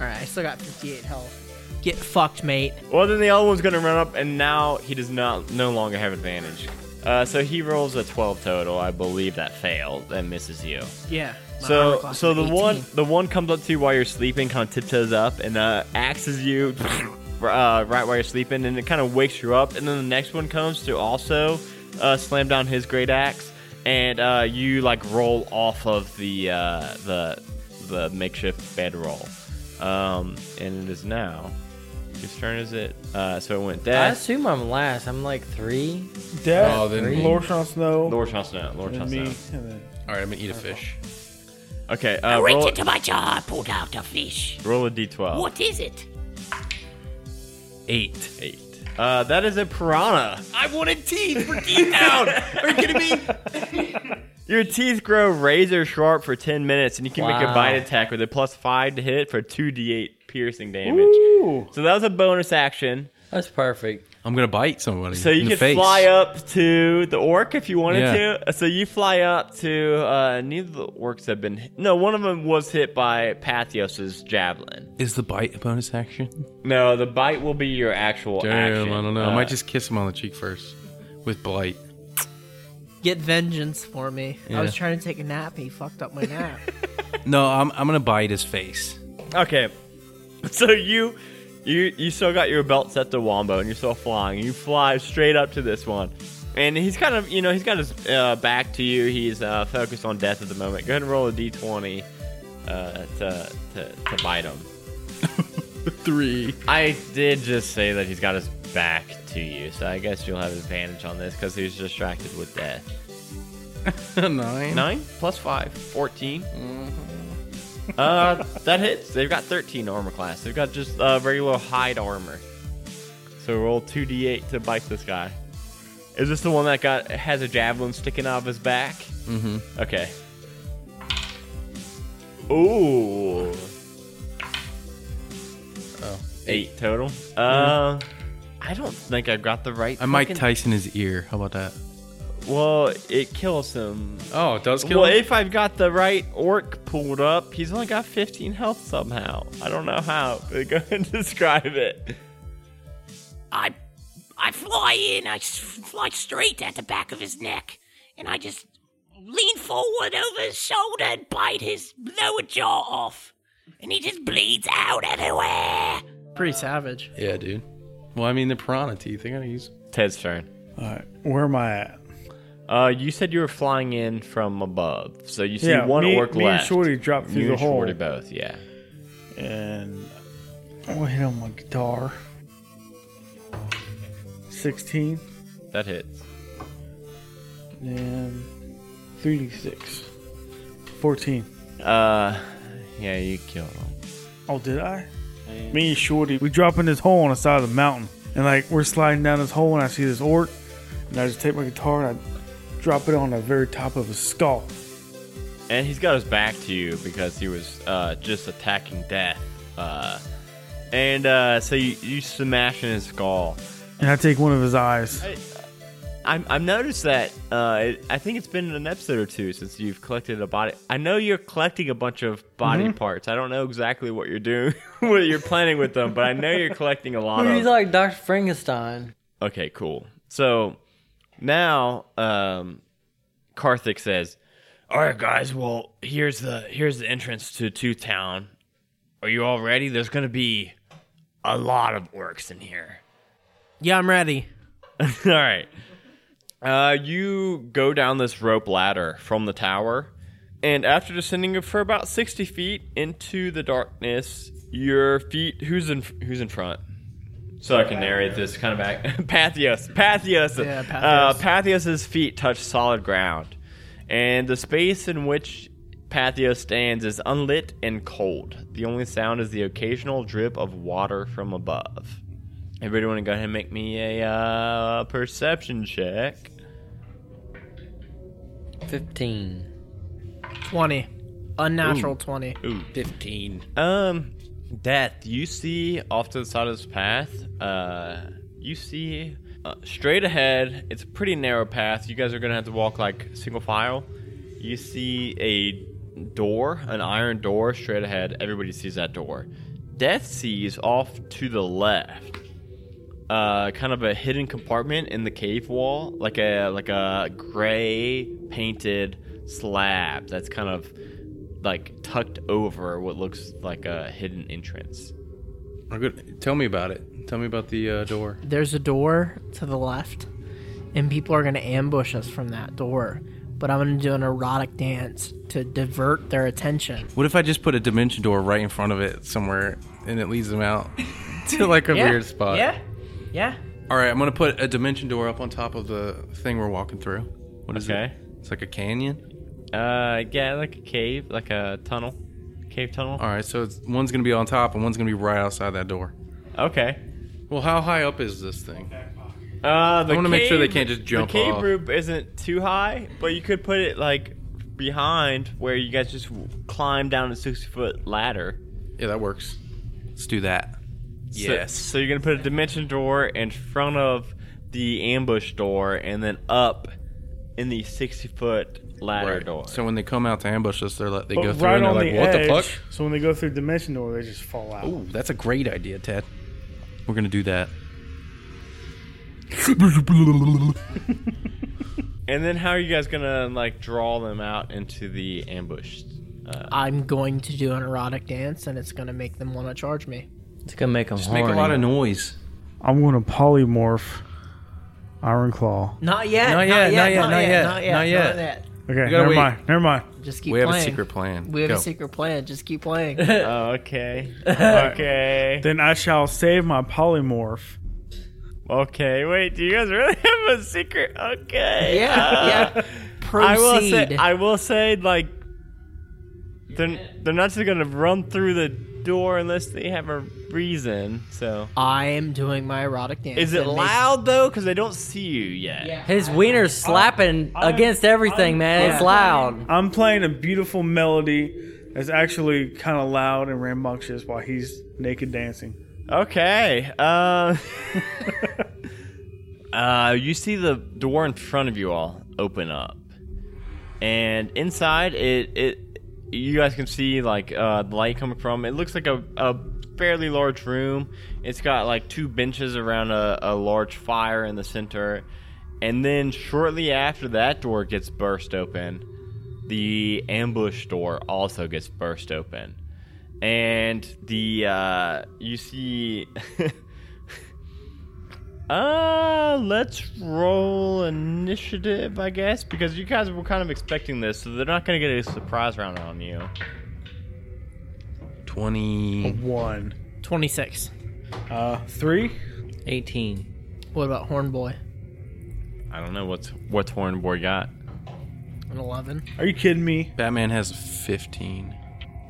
D: right, I still got 58 health. Get fucked, mate.
A: well, then the other one's gonna run up, and now he does not no longer have advantage. Uh, so he rolls a 12 total. I believe that failed. That misses you.
D: Yeah. my armor
A: So
D: class
A: so
D: is
A: the
D: 18.
A: one the one comes up to you while you're sleeping, kind of tiptoes up and uh, axes you uh, right while you're sleeping, and it kind of wakes you up. And then the next one comes to also uh, slam down his great axe, and uh, you like roll off of the uh, the the makeshift bedroll. Um, and it is now. Whose turn is it? Uh, so it went
B: I
A: death.
B: assume I'm last. I'm like three.
C: Death,
E: Oh, then-
C: Lord Sean Snow,
A: Lord Chancellor. Lord
C: and me.
A: Chancellor.
C: and then-
E: Alright, I'm gonna eat a fish.
A: Okay. Uh,
F: I reached
A: roll,
F: into my jar, I pulled out a fish.
A: roll a d12.
F: What is it?
A: Eight. Eight. Uh, that is a piranha.
F: I wanted teeth for teeth down. Are you kidding me?
A: Your teeth grow razor sharp for 10 minutes, and you can make a
B: Wow.
A: bite attack with a plus 5 to hit for 2d8 piercing damage.
C: Ooh,
A: So that was a bonus action.
B: That's perfect.
E: I'm gonna bite somebody.
A: So you
E: in the
A: could
E: face.
A: fly up to the orc if you wanted
E: Yeah.
A: to. Uh, So you fly up to. Uh, neither of the orcs have been. hit- No, one of them was hit by Pathios's javelin.
E: Is the bite a bonus action?
A: No, the bite will be your actual
E: Damn,
A: action.
E: I don't know. I
A: Uh,
E: might just kiss him on the cheek first with blight.
D: Get vengeance for me. I was
E: Yeah.
D: trying to take a nap. He fucked up my nap.
E: No, I'm, I'm gonna bite his face.
A: Okay. So you you you still got your belt set to Wombo and you're still flying. You fly straight up to this one. And he's kind of, you know, he's got his uh, back to you. He's uh, focused on death at the moment. Go ahead and roll a d20 uh, to, to, to bite him.
E: Three.
A: I did just say that he's got his back to you, so I guess you'll have advantage on this because he's distracted with death.
E: Nine.
A: Nine plus five, 14. Uh, that hits. They've got 13 armor class. They've got just uh, regular hide armor. So roll 2d8 to bite this guy. Is this the one that got has a javelin sticking out of his back? Mm-hmm. Okay. Ooh.
E: Oh. Mm-hmm.
A: Eight total. Uh, I don't think I got the right.
E: I Mike
A: fucking-
E: Tyson his ear. How about that?
A: well, it kills him.
E: Oh, it does
A: Well, if I've got the right orc pulled up, he's only got 15 health somehow. I don't know how, but go and describe it.
F: I I fly in, I s- fly straight at the back of his neck, and I just lean forward over his shoulder and bite his lower jaw off. And he just bleeds out everywhere.
D: Pretty savage.
E: yeah, dude. Well, I mean, the piranha teeth. They gotta use.
A: Ted's turn.
C: All right, where am I at?
A: Uh, you said you were flying in from above, so you see
C: yeah,
A: one
C: me,
A: orc
C: me
A: left.
C: and Shorty dropped
A: You
C: through the
A: and
C: hole,
A: Shorty both, yeah.
C: and I want to hit on my guitar. Sixteen
A: That hits.
C: and three d six. Fourteen.
A: Uh, yeah, you killed him.
C: Oh, did I? Me and Shorty, we drop in this hole on the side of the mountain, and like we're sliding down this hole, and I see this orc, and I just take my guitar and I drop it on the very top of his skull.
A: And he's got his back to you because he was uh, just attacking death. Uh, and uh, so you, you smash in his skull.
C: And I take one of his eyes.
A: I'm, I've noticed that. Uh, it, I think it's been an episode or two since you've collected a body. I know you're collecting a bunch of body
D: Mm-hmm.
A: parts. I don't know exactly what you're doing, what you're planning with them, but I know you're collecting a lot of.
B: He's like Dr. Frankenstein.
A: okay, cool. So now, um, Karthik says, "All right, guys. Well, here's the here's the entrance to Two Town. Are you all ready? There's gonna be a lot of orcs in here."
D: Yeah, I'm ready.
A: All right. Uh, you go down this rope ladder from the tower, and after descending for about sixty feet into the darkness, your feet. Who's in? Who's in front? So I can narrate this kind of act. Pathios, Pathios,
D: Yeah, Pathios.
A: Uh, Pathios's feet touch solid ground, and the space in which Pathios stands is unlit and cold. The only sound is the occasional drip of water from above. Everybody want to go ahead and make me a uh, perception check.
B: 15.
D: 20. Unnatural 20.
A: Ooh, 15. Um, Death, you see off to the side of this path, uh, you see uh, straight ahead, it's a pretty narrow path. You guys are going to have to walk like single file. You see a door, an iron door straight ahead. Everybody sees that door. Death sees off to the left. Uh, kind of a hidden compartment in the cave wall, like a like a gray painted slab that's kind of like tucked over what looks like a hidden entrance.
E: Are good. Tell me about it. Tell me about the uh, door.
D: There's a door to the left, and people are going to ambush us from that door. But I'm going to do an erotic dance to divert their attention.
E: What if I just put a dimension door right in front of it somewhere, and it leads them out to like a weird spot?
D: Yeah. Yeah.
E: All right, I'm gonna put a dimension door up on top of the thing we're walking through. What is
A: Okay.
E: it? It's like a canyon.
A: Uh, yeah, like a cave, like a tunnel, cave tunnel.
E: All right, so it's, one's gonna be on top, and one's gonna be right outside that door.
A: Okay.
E: Well, how high up is this thing?
A: Uh, the
E: I wanna make sure they
A: cave-
E: can't just jump
A: The cave
E: off.
A: roof isn't too high, but you could put it like behind where you guys just climb down a sixty foot ladder.
E: Yeah, that works. Let's do that.
A: So- So, you're gonna put a dimension door in front of the ambush door, and then up in the sixty foot ladder
E: Right.
A: door.
E: So when they come out to ambush us, they're like, they
C: But
E: go through
C: right
E: and they're
C: on
E: like,
C: the
E: "What
C: edge,
E: the fuck?"
C: So when they go through dimension door, they just fall out.
E: Ooh, that's a great idea, Ted. We're gonna do that.
A: and then how are you guys gonna like draw them out into the ambush? Uh,
D: I'm going to do an erotic dance, and it's going to make them want to charge me.
B: It's gonna make him
E: Just make a lot of noise.
C: I'm going to polymorph Iron Claw.
D: Not yet.
E: Not yet, not yet, not yet, not yet.
C: Okay,
E: gotta
C: never
E: wait.
C: mind. Never mind.
D: Just keep
E: we have
D: playing.
E: a secret plan.
D: We have
E: Go.
D: a secret plan. Just keep playing.
A: Oh, okay. Okay.
C: Then I shall save my polymorph.
A: Okay, wait, do you guys really have a secret? Okay.
D: yeah, yeah. proceed.
A: I will say, I will say, like, they're they're not just gonna run through the door unless they have a reason. So,
D: I'm doing my erotic dance.
A: is it
D: and they-
A: loud though? Because they don't see you yet. Yeah.
B: His wiener's slapping against everything, man. It's loud.
C: I'm playing a beautiful melody that's actually kind of loud and rambunctious while he's naked dancing.
A: Okay. Uh, uh, you see the door in front of you all open up, and inside it, it you guys can see like uh, the light coming from. It looks like a, a fairly large room. It's got like two benches around a, a large fire in the center, and then shortly after that door gets burst open, the ambush door also gets burst open and the uh you see uh let's roll initiative i guess because you guys were kind of expecting this so they're not gonna get a surprise round on you
E: 20.
C: One,
D: 26.
C: uh, three.
B: 18.
D: What about Horn Boy?
A: i don't know what's what's horn boy got
D: An 11.
C: Are you kidding me?
E: Batman has 15.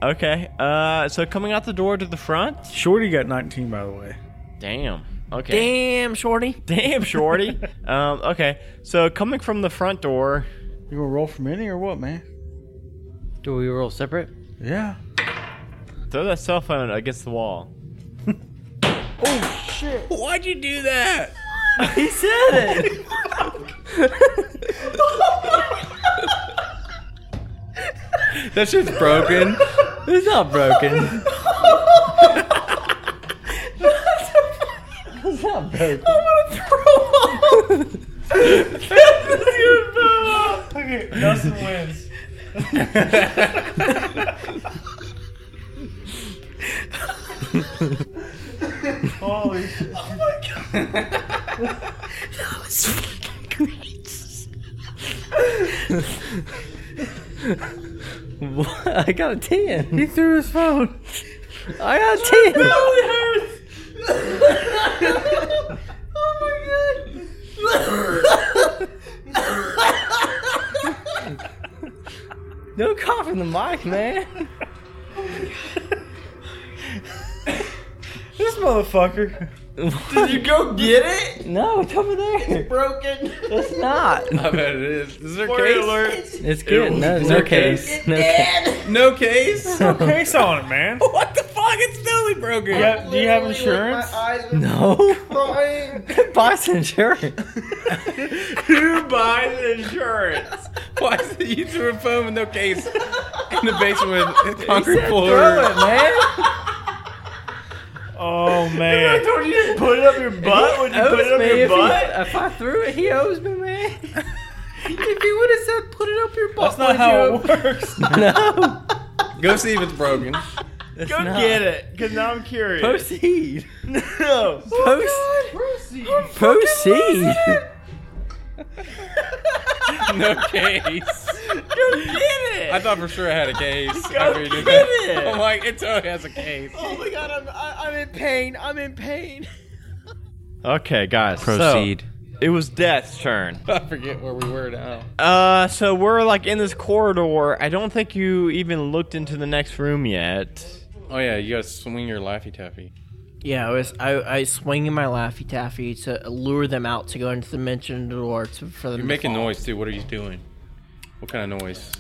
A: okay uh so coming out the door to the front
C: Shorty got 19, by the way.
A: damn okay
D: Damn, Shorty.
A: damn shorty um okay so coming from the front door
C: You gonna roll from any or what, man?
B: Do we roll separate?
C: Yeah.
A: throw that cell phone against the wall
E: Why'd you do that?
B: Oh, He said it.
E: That shit's broken.
B: It's not broken. it's not broken.
C: Okay, Dustin wins. Holy shit.
B: I got a 10.
C: He threw his phone.
B: I got a 10. Oh Don't cough in the mic, man.
C: This motherfucker.
B: No, it's over there. It's broken. It's not.
E: I bet it is. Is there a
A: Spoiler
E: case?
A: alert.
B: It's good. No,
E: Is
B: no
E: there
B: case. No case.
E: No case?
C: There's no case on it, man.
E: what the fuck? It's totally broken.
C: Yeah, do you have insurance?
B: No. Buy some insurance.
E: Who buys insurance? Why is it you threw a phone with no case in the basement with a concrete floor?
B: man.
C: Oh, man.
A: Don't you just put it up your butt when you put it up
B: me
A: your
B: if,
A: butt?
B: he, if I threw it, he owes me, man.
D: If you would have said, put it up your butt.
C: That's not how it works.
B: No.
E: Go see if it's broken.
A: Go get it, because now I'm curious.
B: Proceed.
A: no.
B: Post. Proceed.
E: No case.
A: Get
E: I
A: it!
E: thought for sure I had a case.
A: Go
E: after you did
A: get
E: that.
A: it.
E: I'm like, it totally has a case.
D: Oh my god, I'm, I, I'm in pain. I'm in pain.
A: Okay, guys. so, it was Death's turn.
E: I forget where we were now.
A: Uh, so we're like in this corridor. I don't think you even looked into the next room yet.
E: Oh yeah, you gotta swing your laffy taffy.
D: Yeah, I was I, I swinging my laffy taffy to lure them out to go into the dimension door to, for them.
E: You're making noise too. What are you doing? What kind of noise?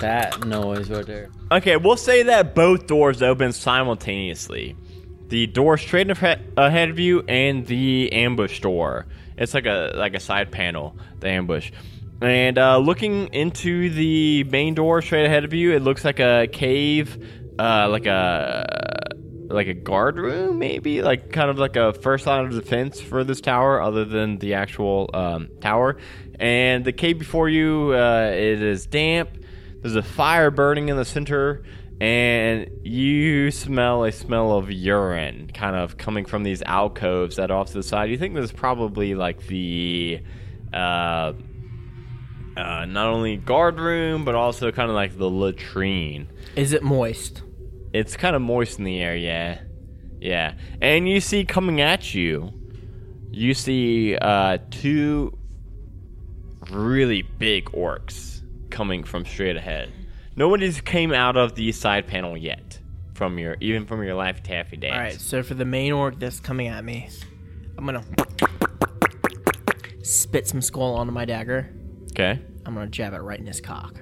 B: That noise right there.
A: Okay, we'll say that both doors open simultaneously. The door straight in fre- ahead of you and the ambush door. It's like a like a side panel, the ambush. And uh, looking into the main door straight ahead of you, it looks like a cave, uh, like a like a guard room, maybe like kind of like a first line of defense for this tower, other than the actual um, tower. And the cave before you, uh, it is damp. There's a fire burning in the center, and you smell a smell of urine kind of coming from these alcoves that are off to the side. You think there's probably like the. Uh, uh, not only guard room, but also kind of like the latrine.
D: Is it moist?
A: It's kind of moist in the air, yeah, yeah. And you see coming at you, you see uh, two really big orcs coming from straight ahead. Nobody's came out of the side panel yet. From your even from your life taffy dance.
D: All right, so for the main orc that's coming at me, I'm gonna spit some skull onto my dagger.
A: Okay.
D: I'm gonna jab it right in his cock.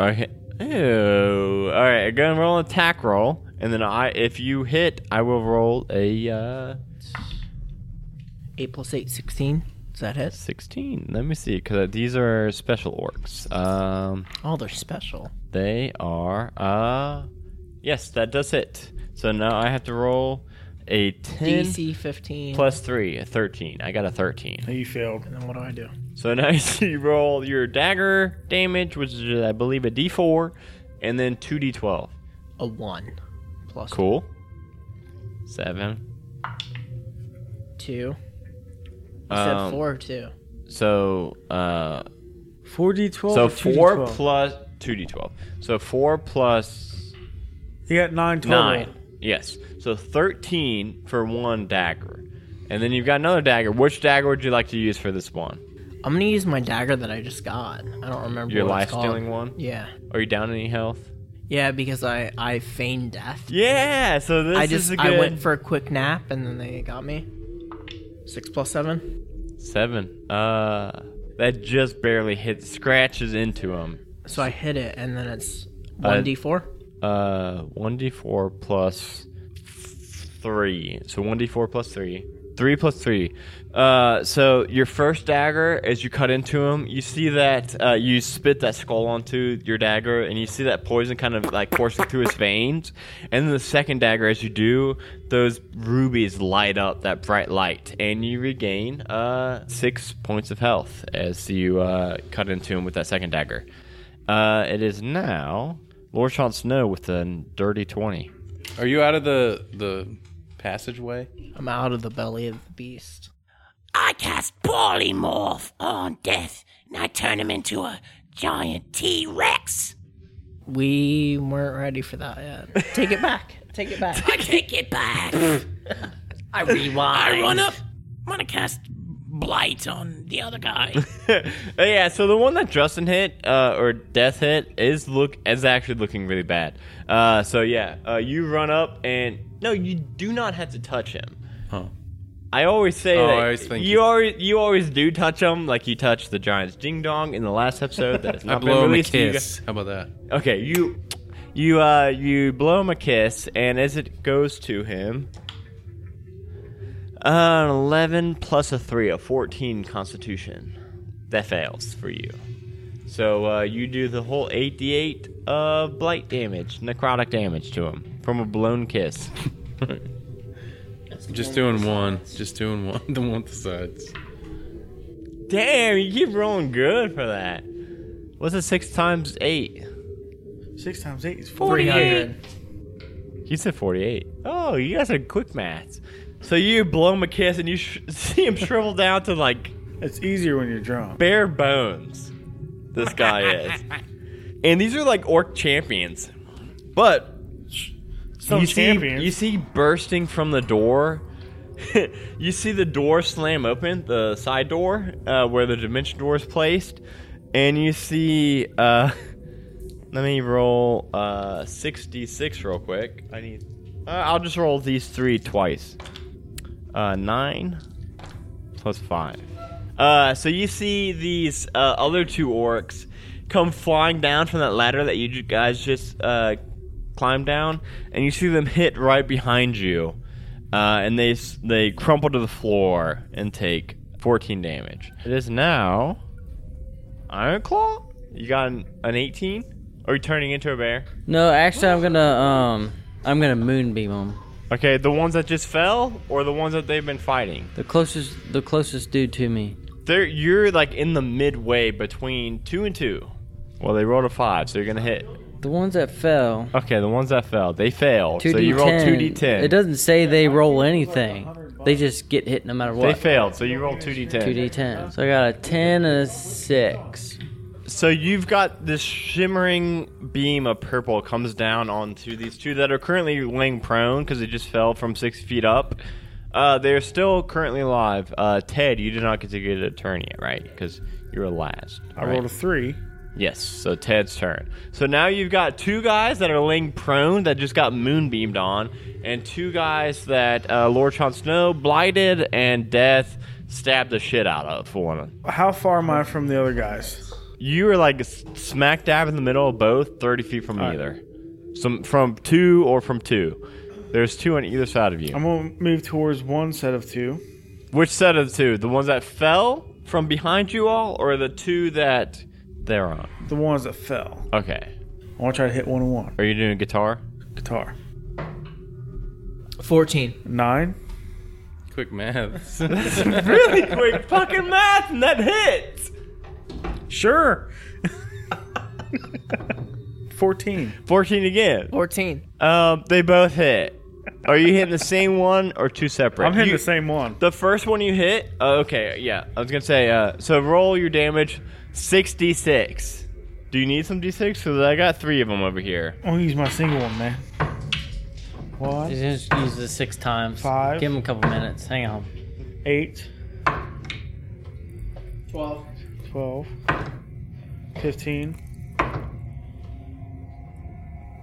A: Okay. Ew. All right. I'm gonna roll an attack roll, and then I, if you hit, I will roll a uh,
D: Eight plus eight, sixteen. Does that hit?
A: sixteen. Let me see, because these are special orcs. Um,
D: Oh, they're special.
A: they are. Uh, yes, that does hit. So now I have to roll a ten
D: DC 15.
A: plus three, a thirteen. I got a thirteen.
C: He failed.
D: And then what do I do?
A: So now you roll your dagger damage, which is I believe a D4, and then two D12.
D: A one plus
A: Cool. Seven.
D: two. You said
A: Um,
D: four or two.
A: So uh,
C: Four D twelve.
A: so four plus two D twelve. So four plus
C: He got nine total.
A: nine. Yes. So thirteen for one dagger, and then you've got another dagger. Which dagger would you like to use for this one?
D: I'm gonna use my dagger that I just got. I don't remember
A: Your
D: what
A: life
D: it's called.
A: stealing one?
D: Yeah.
A: Are you down any health?
D: Yeah, because I I feigned death.
A: Yeah. So this
D: I
A: is
D: just
A: a good
D: I went for a quick nap and then they got me. Six plus seven.
A: seven. Uh, that just barely hits. Scratches into him.
D: So I hit it and then it's
A: Uh,
D: one d four.
A: Uh, one d four plus three. So one d four plus three. Three plus three. Uh, so your first dagger, as you cut into him, you see that uh, you spit that skull onto your dagger, and you see that poison kind of like coursing through his veins. And then the second dagger, as you do, those rubies light up that bright light, and you regain uh, six points of health as you uh, cut into him with that second dagger. Uh, it is now Lord Sean Snow with a dirty 20.
E: Are you out of the the passageway?
D: I'm out of the belly of the beast.
F: I cast polymorph on Death, and I turn him into a giant T Rex.
D: We weren't ready for that yet. Take it back. Take it back.
F: I take it back.
D: I rewind.
F: I run up. I'm gonna cast blight on the other guy.
A: Uh, yeah, so the one that Justin hit uh, or Death hit is look is actually looking really bad. Uh, so yeah, uh, you run up and no, you do not have to touch him.
E: Huh.
A: I always say
E: Oh,
A: that
E: I always think
A: you,
E: you-
A: always you always do touch him, like you touched the Giants Ding Dong in the last episode that has
E: I
A: not been
E: blow him a
A: released. You
E: kiss. How about that?
A: gu- okay, you you uh you blow him a kiss, and as it goes to him, uh, an eleven plus a three, a fourteen Constitution. That fails for you. So uh, you do the whole 88 uh, blight damage, necrotic damage to him from a blown kiss.
E: Just doing one. Just doing one. The one with the sides.
A: Damn, you keep rolling good for that. What's it six times eight?
C: Six times eight is four.
D: 300.
A: You said 48. Oh, you guys are quick maths. So you blow him a kiss and you sh- see him shrivel down to like
C: It's easier when you're drunk.
A: bare bones. This guy is. And these are like orc champions. But
C: Some
A: you
C: champions.
A: see you see bursting from the door. you see the door slam open, the side door uh, where the dimension door is placed, and you see. Uh, let me roll uh, sixty-six real quick. I need. Uh, I'll just roll these three twice. Uh, nine plus five. Uh, so you see these uh, other two orcs come flying down from that ladder that you ju- guys just uh, climbed down, and you see them hit right behind you, uh, and they s- they crumple to the floor and take 14 damage. It is now Iron Claw. You got an, an 18? Are you turning into a bear?
B: No, actually, I'm gonna um, I'm gonna moonbeam him.
A: Okay, the ones that just fell, or the ones that they've been fighting.
B: The closest, the closest dude to me.
A: They're, you're like in the midway between two and two. Well, they rolled a five, so you're gonna hit.
B: The ones that fell.
A: Okay, the ones that fell, they failed. So you roll
B: 2d10.
A: two d10.
B: It doesn't say they roll anything. They just get hit no matter
A: They
B: what.
A: failed, so you roll two d10.
B: Two d10. So I got a ten and a six.
A: So you've got this shimmering beam of purple comes down onto these two that are currently laying prone because they just fell from six feet up. Uh, they're still currently alive. Uh, Ted, you did not get to get a turn yet, right? Because you were last.
C: I rolled a three.
A: Yes, so Ted's turn. So now you've got two guys that are laying prone that just got moonbeamed on, and two guys that uh, Lord Jon Snow blighted and death stabbed the shit out of for one. of them.
C: How far am I from the other guys?
A: You were like s- smack dab in the middle of both, 30 feet from either. Some From two or from two. There's two on either side of you.
C: I'm gonna move towards one set of two.
A: Which set of the two? The ones that fell from behind you all, or the two that they're on?
C: The ones that fell.
A: Okay.
C: I want to try to hit one on one.
A: Are you doing guitar?
C: Guitar.
D: 14.
C: Nine.
E: Quick math.
A: really quick fucking math, and that hits.
C: Sure. Fourteen.
A: Fourteen again.
D: 14.
A: Um, they both hit. Are you hitting the same one or two separate?
C: I'm hitting
A: You-
C: the same one.
A: The first one you hit. Uh, okay, yeah. I was gonna say. Uh, so roll your damage, sixty-six. Do you need some d6? Cause I got three of them over here.
C: I'm gonna use my single one, man. One,
B: Just use this six times.
C: Five.
B: Give him a couple minutes. Hang on.
C: eight, 12, 15,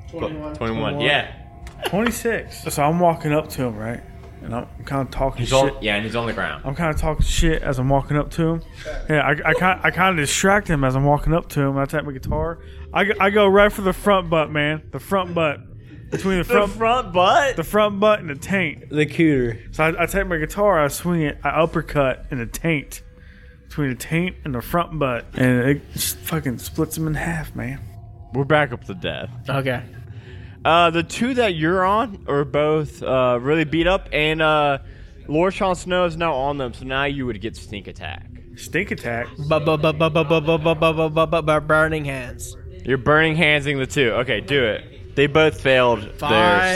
A: Twenty-one. Yeah.
C: 26. So I'm walking up to him, right? And I'm kind of talking
A: He's
C: shit.
A: on. Yeah, and he's on the ground.
C: I'm kind of talking shit as I'm walking up to him. Yeah, I, I kind I kind of distract him as I'm walking up to him. I tap my guitar. I, go- I go right for the front butt, man. The front butt between the front
A: front butt.
C: the front butt and the taint.
B: The cooter.
C: So I, I take my guitar, I swing it, I uppercut and the taint between the taint and the front butt, and it just fucking splits him in half, man.
A: We're back up to death.
D: Okay.
A: Uh, the two that you're on are both uh, really beat up, and uh, Lord Sean Snow is now on them, so now you would get sneak attack.
C: Stink attack.
D: Burning hands.
A: You're burning handsing the two. Okay, do it. They both failed
D: Five.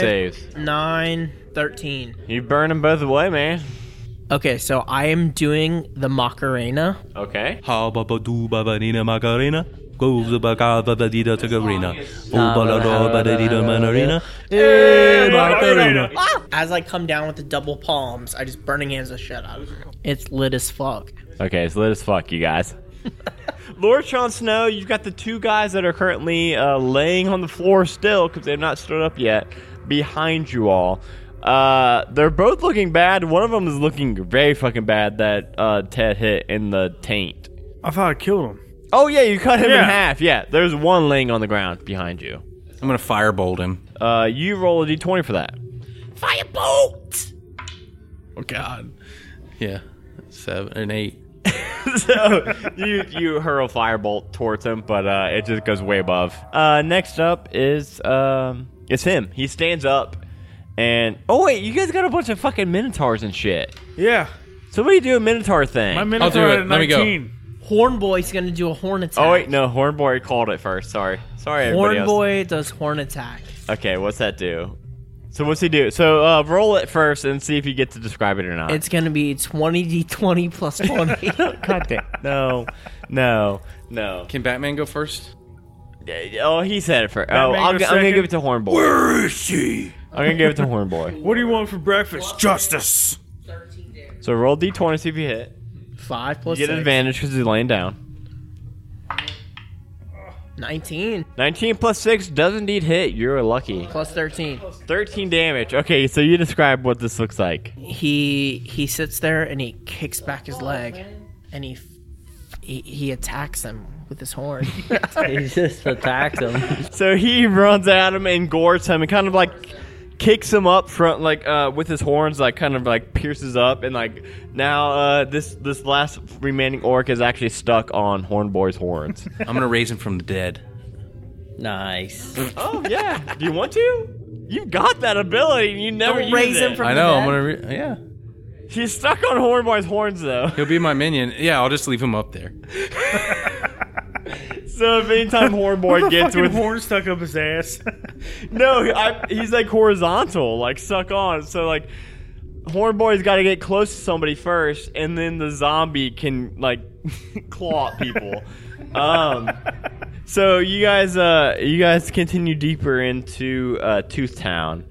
A: their saves.
D: 9, 13.
A: You burn them both away, man.
D: Okay, so I am doing the Macarena.
A: Okay.
E: How baba do baba nina macarena? Go the baga baba dida to garena.
B: Nah, blah, blah, blah, blah, blah, blah,
D: As I come down with the double palms, I just burning hands the shit out of her. It's lit as fuck.
A: Okay, it's lit as fuck, you guys. Lord Sean Snow, you've got the two guys that are currently uh, laying on the floor still because they've not stood up yet behind you all. Uh, they're both looking bad. One of them is looking very fucking bad that uh, Ted hit in the taint.
C: I thought I killed him.
A: Oh, yeah, you cut him in
C: Yeah.
A: half. Yeah, there's one laying on the ground behind you.
E: I'm gonna firebolt him.
A: Uh, you roll a d20 for that.
G: Firebolt!
E: Oh God. Yeah. Seven and eight.
A: so you you hurl firebolt towards him, but uh, it just goes way above. Uh, next up is um, it's him. He stands up, and oh wait, you guys got a bunch of fucking minotaurs and shit.
C: Yeah.
A: Somebody do a minotaur thing.
C: My minutes are
E: it.
C: at
E: Let me go.
C: 19.
D: Hornboy's gonna do a horn attack.
A: oh wait, no, Hornboy called it first. Sorry, sorry, everybody else.
D: Hornboy does horn attack.
A: Okay, what's that do? So what's he do? So uh, roll it first and see if you get to describe it or not.
D: It's gonna be 20d20 plus 20.
A: God damn. No, no, no.
E: Can Batman go first?
A: Oh, he said it first. Oh,
C: Batman
A: I'm,
C: go
A: I'm gonna
C: second?
A: give it to Hornboy. Where is she? I'm gonna give it to Hornboy.
C: What do you want for breakfast? Justice.
A: So roll d20 see if you hit.
D: 5 plus
A: You get
D: six.
A: advantage because he's laying down.
D: 19
A: 19 plus 6 does indeed hit. You're lucky.
D: plus 13.
A: 13 damage. Okay, so you describe what this looks like.
D: He he sits there and he kicks back his leg and he f- he, he attacks him with his horn.
B: He just attacks him.
A: So he runs at him and gores him and kind of like kicks him up front like uh with his horns like kind of like pierces up and like now uh this this last remaining orc is actually stuck on Hornboy's horns.
E: I'm gonna raise him from the dead.
B: Nice.
A: oh yeah. Do you want to? You've got that ability and you never
D: Don't
A: use
D: raise him
A: it.
D: from-
E: I know. I'm gonna. Re- yeah.
A: He's stuck on Hornboy's horns though.
E: He'll be my minion. Yeah, I'll just leave him up there.
A: So if anytime Hornboy
C: The
A: gets
C: fucking
A: with
C: horn stuck up his ass.
A: no, I, he's like horizontal, like suck on. So like Hornboy's got to get close to somebody first, and then the zombie can like claw at people. um, so you guys, uh, you guys continue deeper into uh, Tooth Town.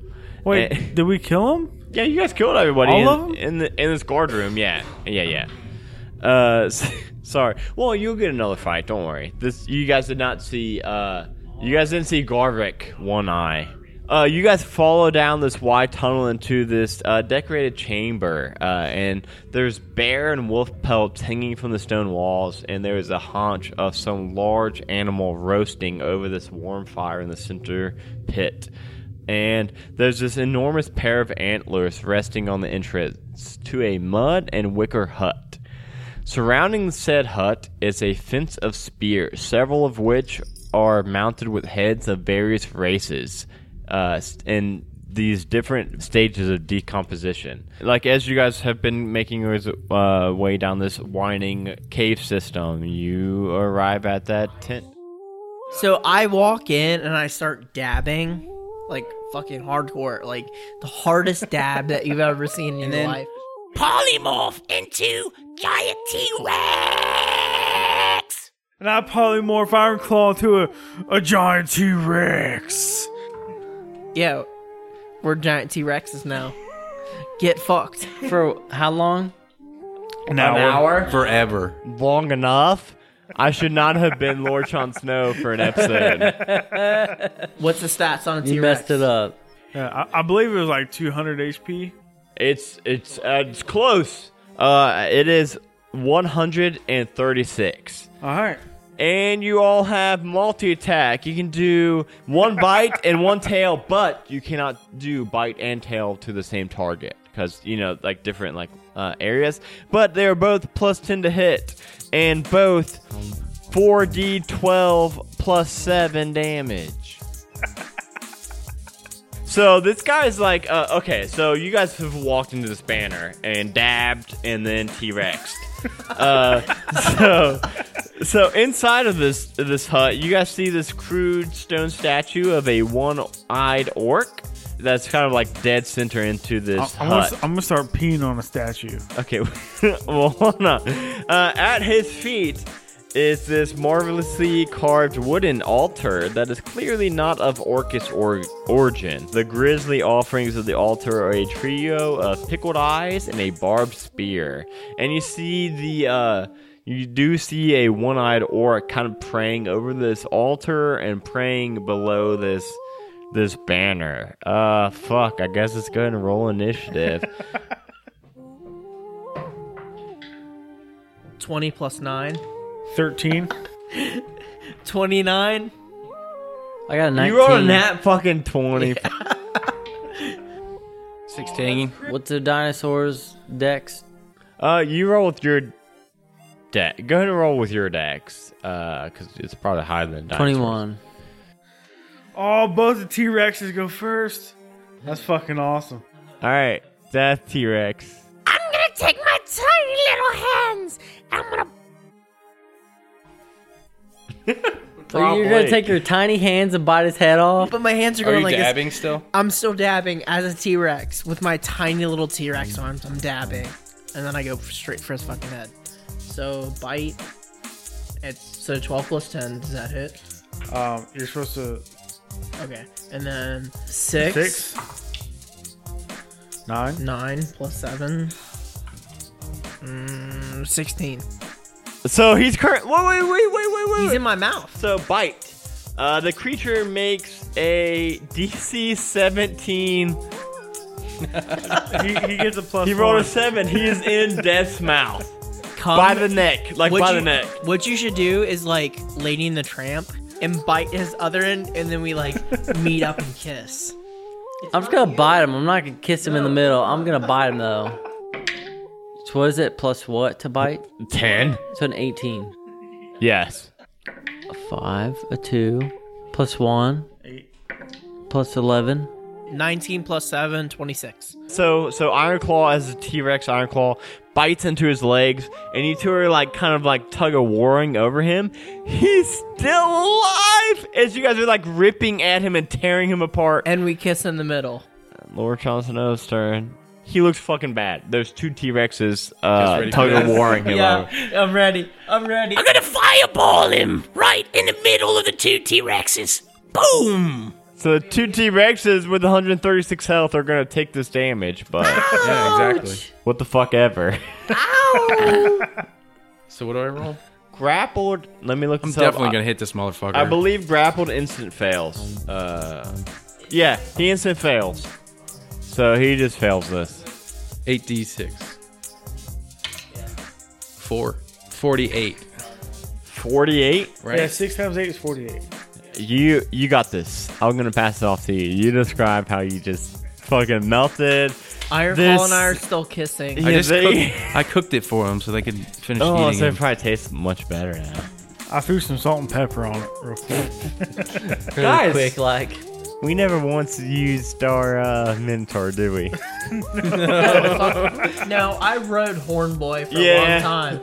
C: Wait,
A: Eh.
C: did we kill him?
A: Yeah, you guys killed everybody
C: All
A: in,
C: of 'em?
A: in the in this guard room. Yeah, yeah, yeah. Uh, s- sorry. Well, you'll get another fight. Don't worry. This you guys did not see. Uh, you guys didn't see Garvik one eye. Uh, you guys follow down this wide tunnel into this uh, decorated chamber, uh, and there's bear and wolf pelts hanging from the stone walls, and there is a haunch of some large animal roasting over this warm fire in the center pit and there's this enormous pair of antlers resting on the entrance to a mud and wicker hut. Surrounding the said hut is a fence of spears, several of which are mounted with heads of various races uh, s- in these different stages of decomposition. Like, as you guys have been making your uh, way down this winding cave system, you arrive at that tent.
D: So I walk in and I start dabbing, like fucking hardcore, like the hardest dab that you've ever seen in your
E: then-
D: life.
F: Polymorph into giant T Rex!
C: And I polymorph Iron Claw to a, a giant T Rex.
D: Yeah, we're giant T Rexes now. Get fucked.
B: For how long?
C: An hour.
E: Forever.
A: long enough. I should not have been Lord Sean Snow for an episode.
D: What's the stats on a T
B: You
D: Rex?
B: messed it up.
C: Yeah, I, I believe it was like 200 HP.
A: It's it's uh, it's close. Uh, it is 136,
C: All right.
A: and you all have multi attack. You can do one bite and one tail, but you cannot do bite and tail to the same target because you know like different like uh, areas. But they are both plus 10 to hit, and both 4d12 plus 7 damage. So this guy's like, uh, okay, so you guys have walked into this banner and dabbed and then T Rexed. uh, so, so inside of this this hut, you guys see this crude stone statue of a one-eyed orc that's kind of like dead center into this
C: I, am
A: hut.
C: gonna, I'm gonna start peeing on a statue.
A: Okay, well, hold on. Uh, at his feet is this marvelously carved wooden altar that is clearly not of Orcus or- origin. The grisly offerings of the altar are a trio of pickled eyes and a barbed spear. And you see the. Uh, you do see a one eyed orc kind of praying over this altar and praying below this this banner. Uh fuck, I guess let's go ahead and roll initiative.
D: 20 plus 9.
C: 13.
D: 29.
B: I got a 19.
A: You rolled a nat fucking 20.
E: 16.
B: What's the dinosaurs? Dex?
A: Uh, you roll with your deck. Go ahead and roll with your dex. Uh, because it's probably higher than dinosaurs.
B: 21.
C: Oh, both the T Rexes go first. That's fucking awesome.
A: All right, death T Rex.
F: I'm gonna take my tiny little hands and I'm gonna
B: So you're gonna take your tiny hands and bite his head off?
D: But my hands are
E: Are
D: going
E: you
D: like this.
E: dabbing still?
D: I'm still dabbing as a T Rex with my tiny little T Rex arms. I'm dabbing. And then I go straight for his fucking head. So bite. It's so 12 plus 10. Does that hit?
C: Um, you're supposed to
D: Okay. And then 6.
C: six, nine.
D: 9 plus 7. Mm, 16.
A: So he's current. Wait, wait, wait, wait, wait, wait.
D: He's
A: wait.
D: in my mouth.
A: so bite. Uh, the creature makes a DC 17.
C: He, he gets a plus.
A: He rolled a
C: one.
A: seven. He is in death's mouth
D: Come
A: by the neck, like
D: What
A: by
D: Um, you,
A: the neck.
D: What you should do is like Lady and the Tramp and bite his other end, and then we like meet up and kiss.
B: I'm just gonna bite him. I'm not gonna kiss him in the middle. I'm gonna bite him though. So what is it? Plus what to bite?
A: Ten.
B: So an 18.
A: Yes.
B: A 5, a 2, plus 1, plus 11.
D: 19 plus 7, 26.
A: So so Iron Claw as a T Rex Iron Claw bites into his legs, and you two are like kind of like tug of warring over him. He's still alive as you guys are like ripping at him and tearing him apart.
D: And we kiss in the middle.
A: Lord Johnson O's turn. He looks fucking bad. There's two T Rexes uh,
E: ready
A: tug
E: for
A: of
E: this.
A: warring him. over.
D: I'm ready. I'm ready.
F: I'm gonna fireball him right in the middle of the two T Rexes. Boom!
A: So the two T Rexes with 136 health are gonna take this damage, but
E: Yeah, exactly.
A: what the fuck ever.
E: So what do I roll?
A: Grappled. Let me look.
E: I'm
A: this
E: definitely
A: up.
E: gonna hit this motherfucker.
A: uh, I believe grappled instant fails. Uh, yeah, he instant fails. So he just fails this.
E: eight d six. Four. Forty-eight.
A: 48.
E: Right.
C: Yeah, six times eight is forty-eight.
A: You you got this. I'm gonna pass it off to you. You describe how you just fucking melted.
D: Ironfall
A: This-
D: and I are still kissing.
A: Yeah,
E: I just
A: they-
E: cooked, I cooked it for them so they could finish
A: Oh,
E: eating
A: so it
E: it.
A: probably tastes much better now.
C: I threw some salt and pepper on it real quick.
A: Guys,
B: quick, like
A: we never once used our uh, mentor, did we?
D: No, I rode Hornboy for a
A: Yeah.
D: long time.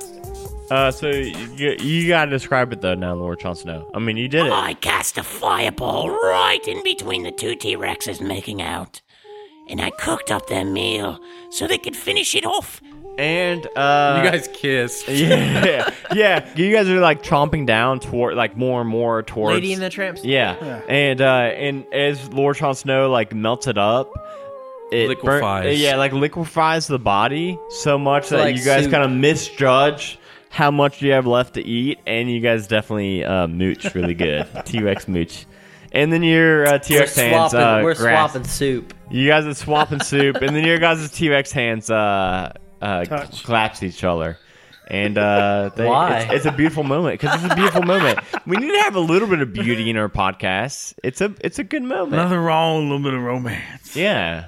A: Uh, so you, you gotta describe it though now, Lord Jon Snow. I mean, you did it.
F: I cast a fireball right in between the two T Rexes making out. And I cooked up their meal so they could finish it off.
A: And uh,
E: You guys kiss.
A: yeah, yeah. You guys are like chomping down toward like more and more towards
D: Lady and the Tramps.
A: yeah. and uh, and as Lord Jon Snow like melts it up, it burn-
E: Liquefies.
A: yeah, like liquefies the body so much that
B: like
A: you guys
B: soup.
A: kind of misjudge how much you have left to eat, and you guys definitely uh, mooch really good. T Rex mooch. And then your uh, T
B: we're
A: Rex hands,
B: swapping,
A: uh,
B: we're
A: grasp-
B: swapping soup.
A: You guys are swapping soup, and then your guys' T Rex hands uh, uh,
C: Touch.
A: claps each other. And uh, they,
B: Why?
A: It's, it's a beautiful moment because it's a beautiful moment. We need to have a little bit of beauty in our podcast. It's a it's a good moment.
C: Nothing wrong, with a little bit of romance.
A: Yeah,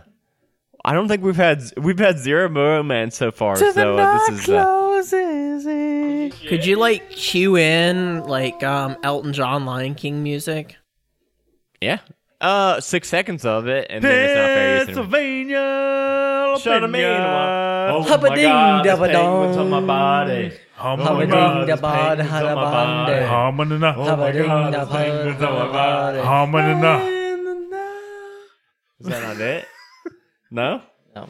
A: I don't think we've had we've had zero romance so far. so uh, this is uh,
D: Could you like cue in like um Elton John Lion King music?
A: yeah. Uh, six seconds of it, and then it's not fair use anymore.
C: Pennsylvania,
A: Shut 'em in.
C: Pennsylvania.
A: Oh my God, this
B: Hubba-ding-dubba-dong.
A: penguin's on my body.
C: Hum-
A: Oh my God, this
B: Hubba-ding-dubba-da,
A: penguin's on my body.
B: hubba-bada.
C: hum- and
B: How
C: a- hum-
B: about
A: this penguin's on my body.
C: and a-
A: Is that not it? No?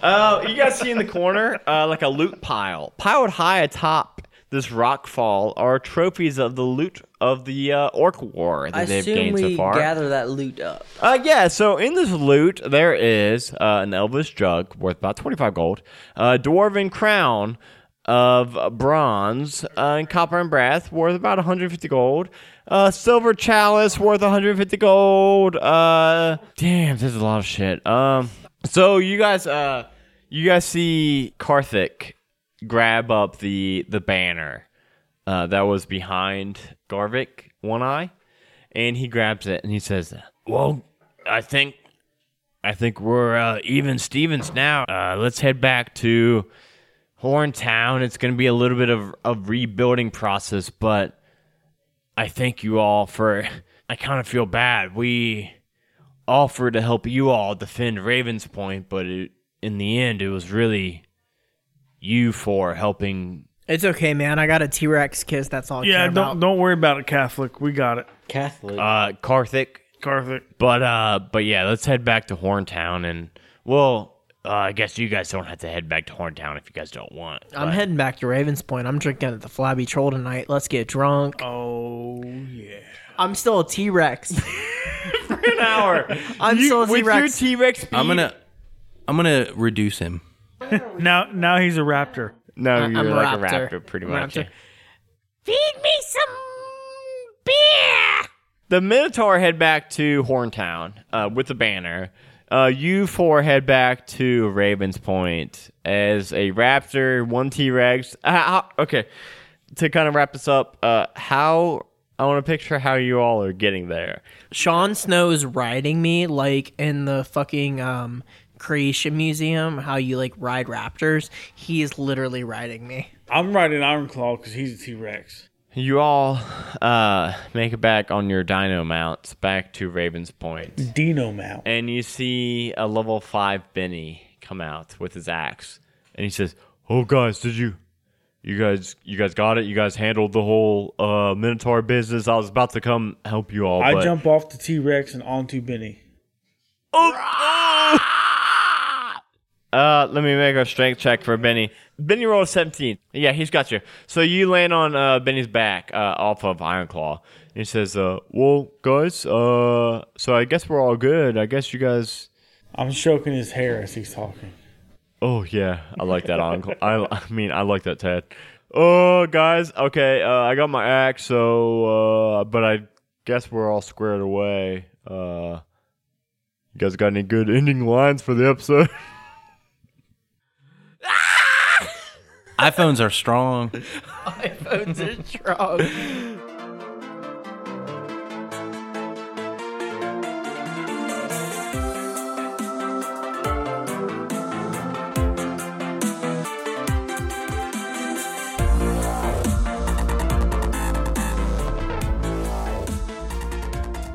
A: Oh, you guys see in the corner, uh, like a loot pile. Piled high atop this rock fall are trophies of the loot of the uh, orc war that
B: I
A: they've
B: assume
A: gained
B: we
A: so far.
B: gather that loot up.
A: Uh, yeah, so in this loot, there is uh, an elvish jug worth about 25 gold, a dwarven crown of bronze uh, and copper and brass worth about 150 gold, a silver chalice worth 150 gold. Uh, damn, this is a lot of shit. Um, so you guys, uh, you guys see Karthik grab up the the banner uh, that was behind Garvik, one eye, and he grabs it and he says, "Well, I think, I think we're uh, even Stevens now. Uh, let's head back to Horn Town. It's going to be a little bit of a rebuilding process, but I thank you all for. I kind of feel bad. We offered to help you all defend Ravens Point, but it, in the end, it was really." You for helping
D: It's okay, man. I got a T Rex kiss. That's all. I
C: Yeah,
D: care
C: don't
D: about.
C: don't worry about it, Catholic. We got it,
B: Catholic.
A: uh Karthik.
C: Catholic.
A: But uh but yeah, let's head back to Horntown and well, uh, I guess you guys don't have to head back to Horntown if you guys don't want.
D: I'm
A: but-
D: heading back to Ravens Point. I'm drinking at the Flabby Troll tonight. Let's get drunk.
C: Oh yeah.
D: I'm still a T Rex.
A: an hour.
D: I'm still a T
A: With your
D: Rex.
A: T-Rex speed.
E: I'm gonna I'm gonna reduce him.
C: Now now he's a raptor.
A: No,
D: I-
A: you're
D: I'm a
A: like
D: raptor.
A: a raptor pretty
D: I'm a
A: much.
D: raptor.
F: Feed me some beer!
A: The Minotaur head back to Horntown uh, with the banner. Uh, you four head back to Ravens Point as a Raptor, one T Rex. Uh, how- okay, to kind of wrap this up, uh, how I want to picture how you all are getting there.
D: Sean Snow is riding me like in the fucking um, Creation Museum, how you like ride raptors. He is literally riding me.
C: I'm riding Ironclaw because he's a T Rex.
A: You all uh, make it back on your dino mounts back to Ravens Point,
C: Dino mount.
A: and you see a level five Benny come out with his axe, and he says, "Oh guys, did you, you guys, you guys got it? You guys handled the whole uh, Minotaur business. I was about to come help you all.
C: I
A: but-
C: jump off the T Rex and onto Benny.
A: Oh, oh! Uh, let me make a strength check for Benny.
H: Benny rolled a 17. Yeah, he's got you. So you land on uh, Benny's back uh, off of Ironclaw. And he says, uh, Well, guys, uh, so I guess we're all good. I guess you guys.
C: I'm stroking his hair as he's talking.
H: Oh, yeah. I like that, Ironclaw. I, I mean, I like that, Ted. Oh, guys. Okay. Uh, I got my axe, so. Uh, but I guess we're all squared away. Uh, you guys got any good ending lines for the episode?
E: iPhones are strong.
D: iPhones are strong.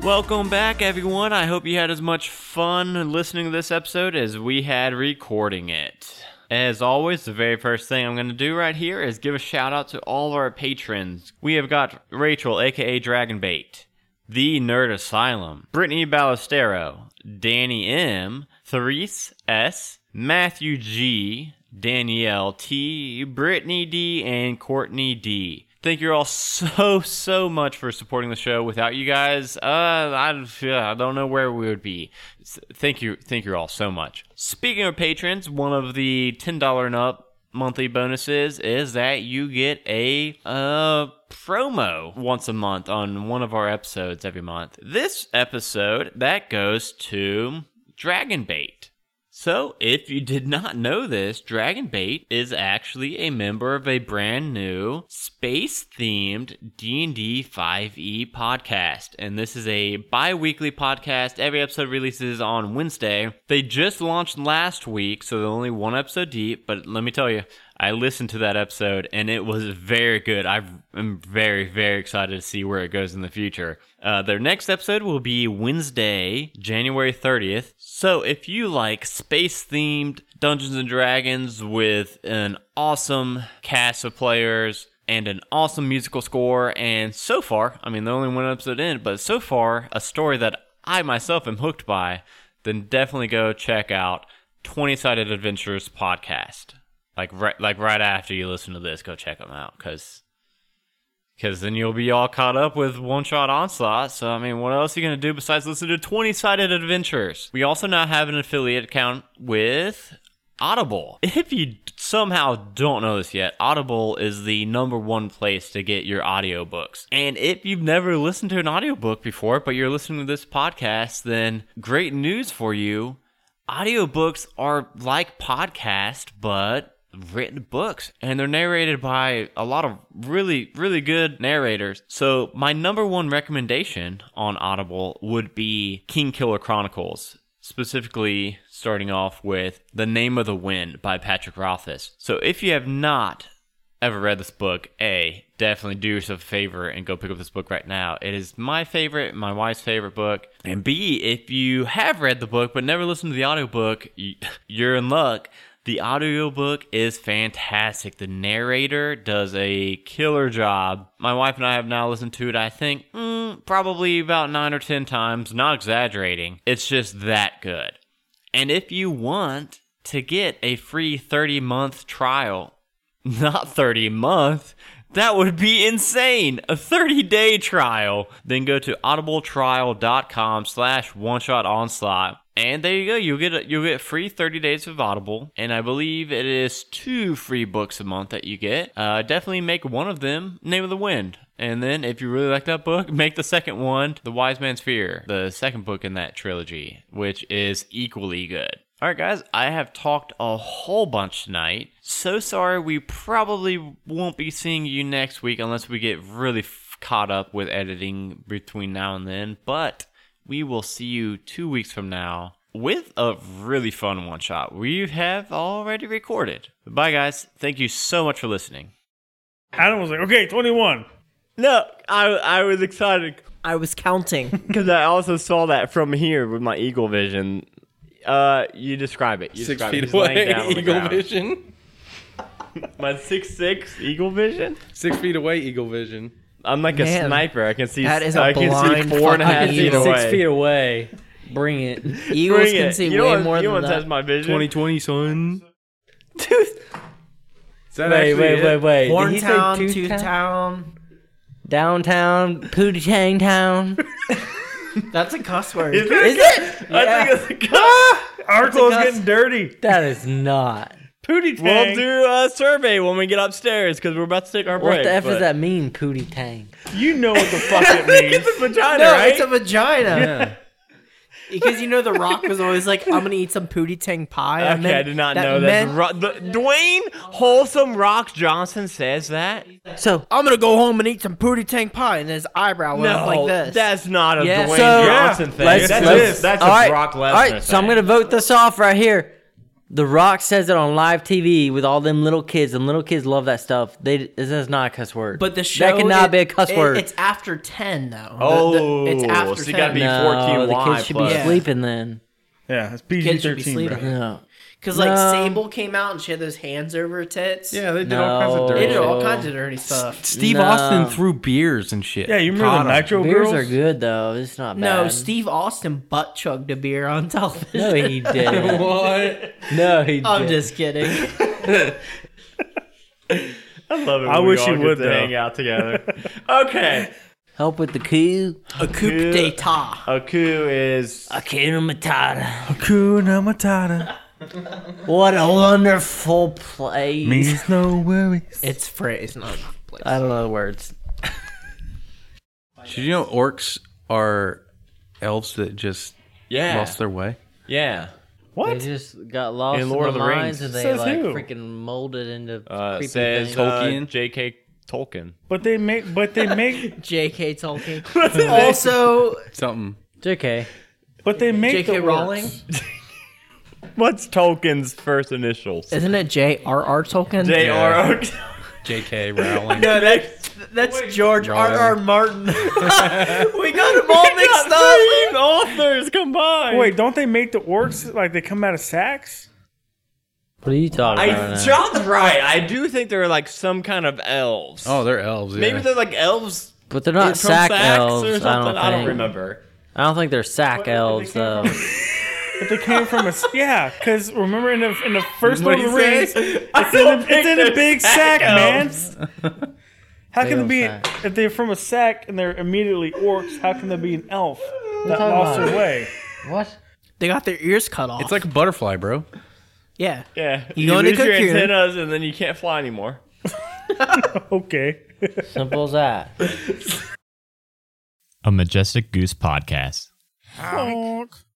A: Welcome back, everyone. I hope you had as much fun listening to this episode as we had recording it. As always, the very first thing I'm going to do right here is give a shout out to all of our patrons. We have got Rachel, aka Dragonbait, The Nerd Asylum, Brittany Ballestero, Danny M, Therese S, Matthew G, Danielle T, Brittany D, and Courtney D. Thank you all so so much for supporting the show. Without you guys, uh, I, yeah, I don't know where we would be. S- Thank you, thank you all so much. Speaking of patrons, one of the ten dollar and up monthly bonuses is that you get a uh promo once a month on one of our episodes every month. This episode that goes to Dragon Bait. So, if you did not know this, Dragonbait is actually a member of a brand new space-themed D&D 5e E podcast, and this is a bi-weekly podcast. Every episode releases on Wednesday. They just launched last week, so they're only one episode deep, but let me tell you, I listened to that episode and it was very good. I am very, very excited to see where it goes in the future. Uh, their next episode will be Wednesday, January 30th. So if you like space themed Dungeons and Dragons with an awesome cast of players, and an awesome musical score, and so far, I mean, they're only one episode in, but so far, a story that I myself am hooked by, then definitely go check out 20 Sided Adventures podcast like right like right after you listen to this, go check them out because then you'll be all caught up with one shot onslaught. So I mean, what else are you gonna do besides listen to twenty sided adventures? We also now have an affiliate account with Audible. If you somehow don't know this yet, Audible is the number one place to get your audiobooks. And if you've never listened to an audiobook before, but you're listening to this podcast, then great news for you audiobooks are like podcast but written books and they're narrated by a lot of really really good narrators so my number one recommendation on audible would be king killer chronicles specifically starting off with the name of the wind by patrick rothfuss so if you have not ever read this book, A, definitely do yourself a favor and go pick up this book right now. It is my favorite, my wife's favorite book. And B, if you have read the book but never listened to the audiobook, y- you're in luck. The audiobook is fantastic. The narrator does a killer job. My wife and I have now listened to it, I think, mm, probably about nine or 10 times, not exaggerating. It's just that good. And if you want to get a free 30 month trial, not 30 a month. That would be insane. A 30-day trial. Then go to audibletrial.com slash one shot onslaught. And there you go. You'll get a, you'll get free 30 days of Audible. And I believe it is two free books a month that you get. Uh, definitely make one of them Name of the Wind. And then if you really like that book, make the second one The Wise Man's Fear, the second book in that trilogy, which is equally good. All right, guys, I have talked a whole bunch tonight. So sorry, we probably won't be seeing you next week unless we get really f- caught up with editing between now and then. But we will see you two weeks from now with a really fun one shot we have already recorded. Bye, guys. Thank you so much for listening.
C: Adam was like, okay, 21.
H: no, I, I was excited.
D: I was counting.
H: Because I also saw that from here with my eagle vision. Uh, you describe it. You
E: Six
H: describe it.
E: feet
H: He's laying
E: away,
H: down on the
E: eagle
H: ground.
E: vision.
H: My six six eagle vision.
E: Six feet away, eagle vision.
H: I'm like a
D: Man,
H: sniper. I can see.
D: that is a
H: I can
D: blind
H: see four and a half
D: fucking
H: feet
D: eagle.
H: away.
B: Six feet away. Bring it.
D: Eagles
H: Bring
D: can
H: it.
D: see
H: you
D: way
H: know what,
D: more
H: you know
D: than
H: what
D: that.
H: that's my vision.
E: 2020, son.
D: Dude,
E: So that
B: Wait,
E: actually
B: wait,
E: it?
B: wait, wait. Did he say
D: Horntown,
B: Tooth
D: Tooth
B: Town?
D: Town.
B: Downtown, Pootie Town.
D: That's a cuss word.
B: Is it? Yeah.
C: Our clothes
B: cuss.
C: getting dirty.
B: That is not.
C: Pootie tang.
A: We'll do a survey when we get upstairs because we're about to take our break.
B: What the F
A: but-
B: does that mean, Pootie Tang?
C: You know what the fuck it means.
A: Vagina,
D: no,
A: right?
D: it's a vagina. Because you know the Rock was always like, "I'm gonna eat some pootie tang pie."
A: okay, I did not know that.
D: meant-
A: Ro- the, Dwayne Wholesome Rock Johnson says that.
B: So,
D: I'm gonna go home and eat some pootie tang pie, and his eyebrow went up like this.
A: that's not a
D: Yeah.
A: Dwayne
B: So-
A: Johnson thing.
B: let's-
A: that's
B: let's-
A: a, that's a
B: all right,
A: Brock Lesnar
B: all right. So I'm
A: thing.
B: gonna vote this off right here. The Rock says it on live TV with all them little kids, and little kids love that stuff. They this is not a cuss word.
D: but the show
B: that cannot
D: it-
B: be a cuss
D: it-
B: word.
D: It's after ten though. The- the-
A: Oh,
D: it's after
A: so you
D: 10.
A: gotta be
B: no,
A: 14
B: the
A: Y
B: kids should be
A: plus.
D: Yeah.
B: sleeping then.
C: yeah, it's
D: Kids should
C: PG-13,
D: be
C: bro.
D: sleeping.
B: No,
D: Because like
B: No.
D: Sable came out and she had those hands over her tits.
E: Yeah, they did all kinds
B: No.
E: of
D: they
E: dirty.
D: did
E: shit.
D: all kinds of dirty stuff.
E: Steve
B: No.
E: Austin threw beers and shit.
C: Yeah, you remember
E: Caught
C: the
E: 'em.
C: Nitro
B: beers
C: Girls?
B: are good though. It's not bad.
D: No, Steve Austin butt chugged a beer on television.
B: No, he did.
E: What?
B: no, he did.
D: I'm just kidding.
A: I love it.
C: I
A: when we
C: wish
A: all
C: you
A: get
C: would,
A: to
C: though.
A: hang out together. okay,
B: Help with the coup.
D: A coup d'etat.
A: a coup is
B: Akira Matata.
C: Hakuna Matata
B: What a wonderful place.
C: means no worries.
D: It's phrase, not place.
B: I don't know the words.
E: Did you know orcs are elves that just
A: yeah,
E: lost their way?
A: yeah.
B: They
C: What?
B: just got lost
A: In
B: in,
A: Lord of
B: the
A: the Rings.
B: lines and they
C: Says
B: like
C: who?
B: freaking molded into
A: Uh,
B: creepy
A: says
B: things.
A: Tolkien,
E: Tolkien.
A: J.K. Tolkien.
C: But they make. But they make.
D: J.K. Tolkien. also,
E: Something.
B: JK.
C: But they make.
D: J.K.
C: the
D: Rowling.
C: orcs.
A: What's Tolkien's first initials?
D: Isn't it J.R.R. Tolkien?
A: J.R.R.
E: J.K. Rowling.
D: No, that's, that's George
E: Rowling.
D: R.R. Martin. we got him all mixed up.
A: authors combined.
C: Wait, don't they make the orcs like they come out of sacks?
B: What are you talking
A: I,
B: about?
A: John's right. I do think they're like some kind of elves.
E: Oh, they're elves. Yeah.
A: maybe they're like elves
B: but they're not
A: from
B: sack
A: Sax
B: elves.
A: or
B: I
A: something.
B: don't think.
A: remember.
B: I don't think they're sack elves though.
C: But they came from a yeah. Because remember in the in the first Lord of the Rings,
A: I
C: it's in a,
A: don't think
C: it's in a
A: they're
C: big sack,
A: elves.
C: man. How can
B: don't
C: they be
B: sack.
C: if they're from a sack and they're immediately orcs? How can they be an elf that
B: talking
C: lost
B: about?
C: their way?
B: what?
D: They got their ears cut off.
E: It's like a butterfly, bro.
D: yeah.
A: Yeah,
D: You go to
A: lose your
D: cocoon.
A: antennas and then you can't fly anymore.
C: Okay.
B: Simple as that.
I: A Majestic Goose podcast.
C: Honk.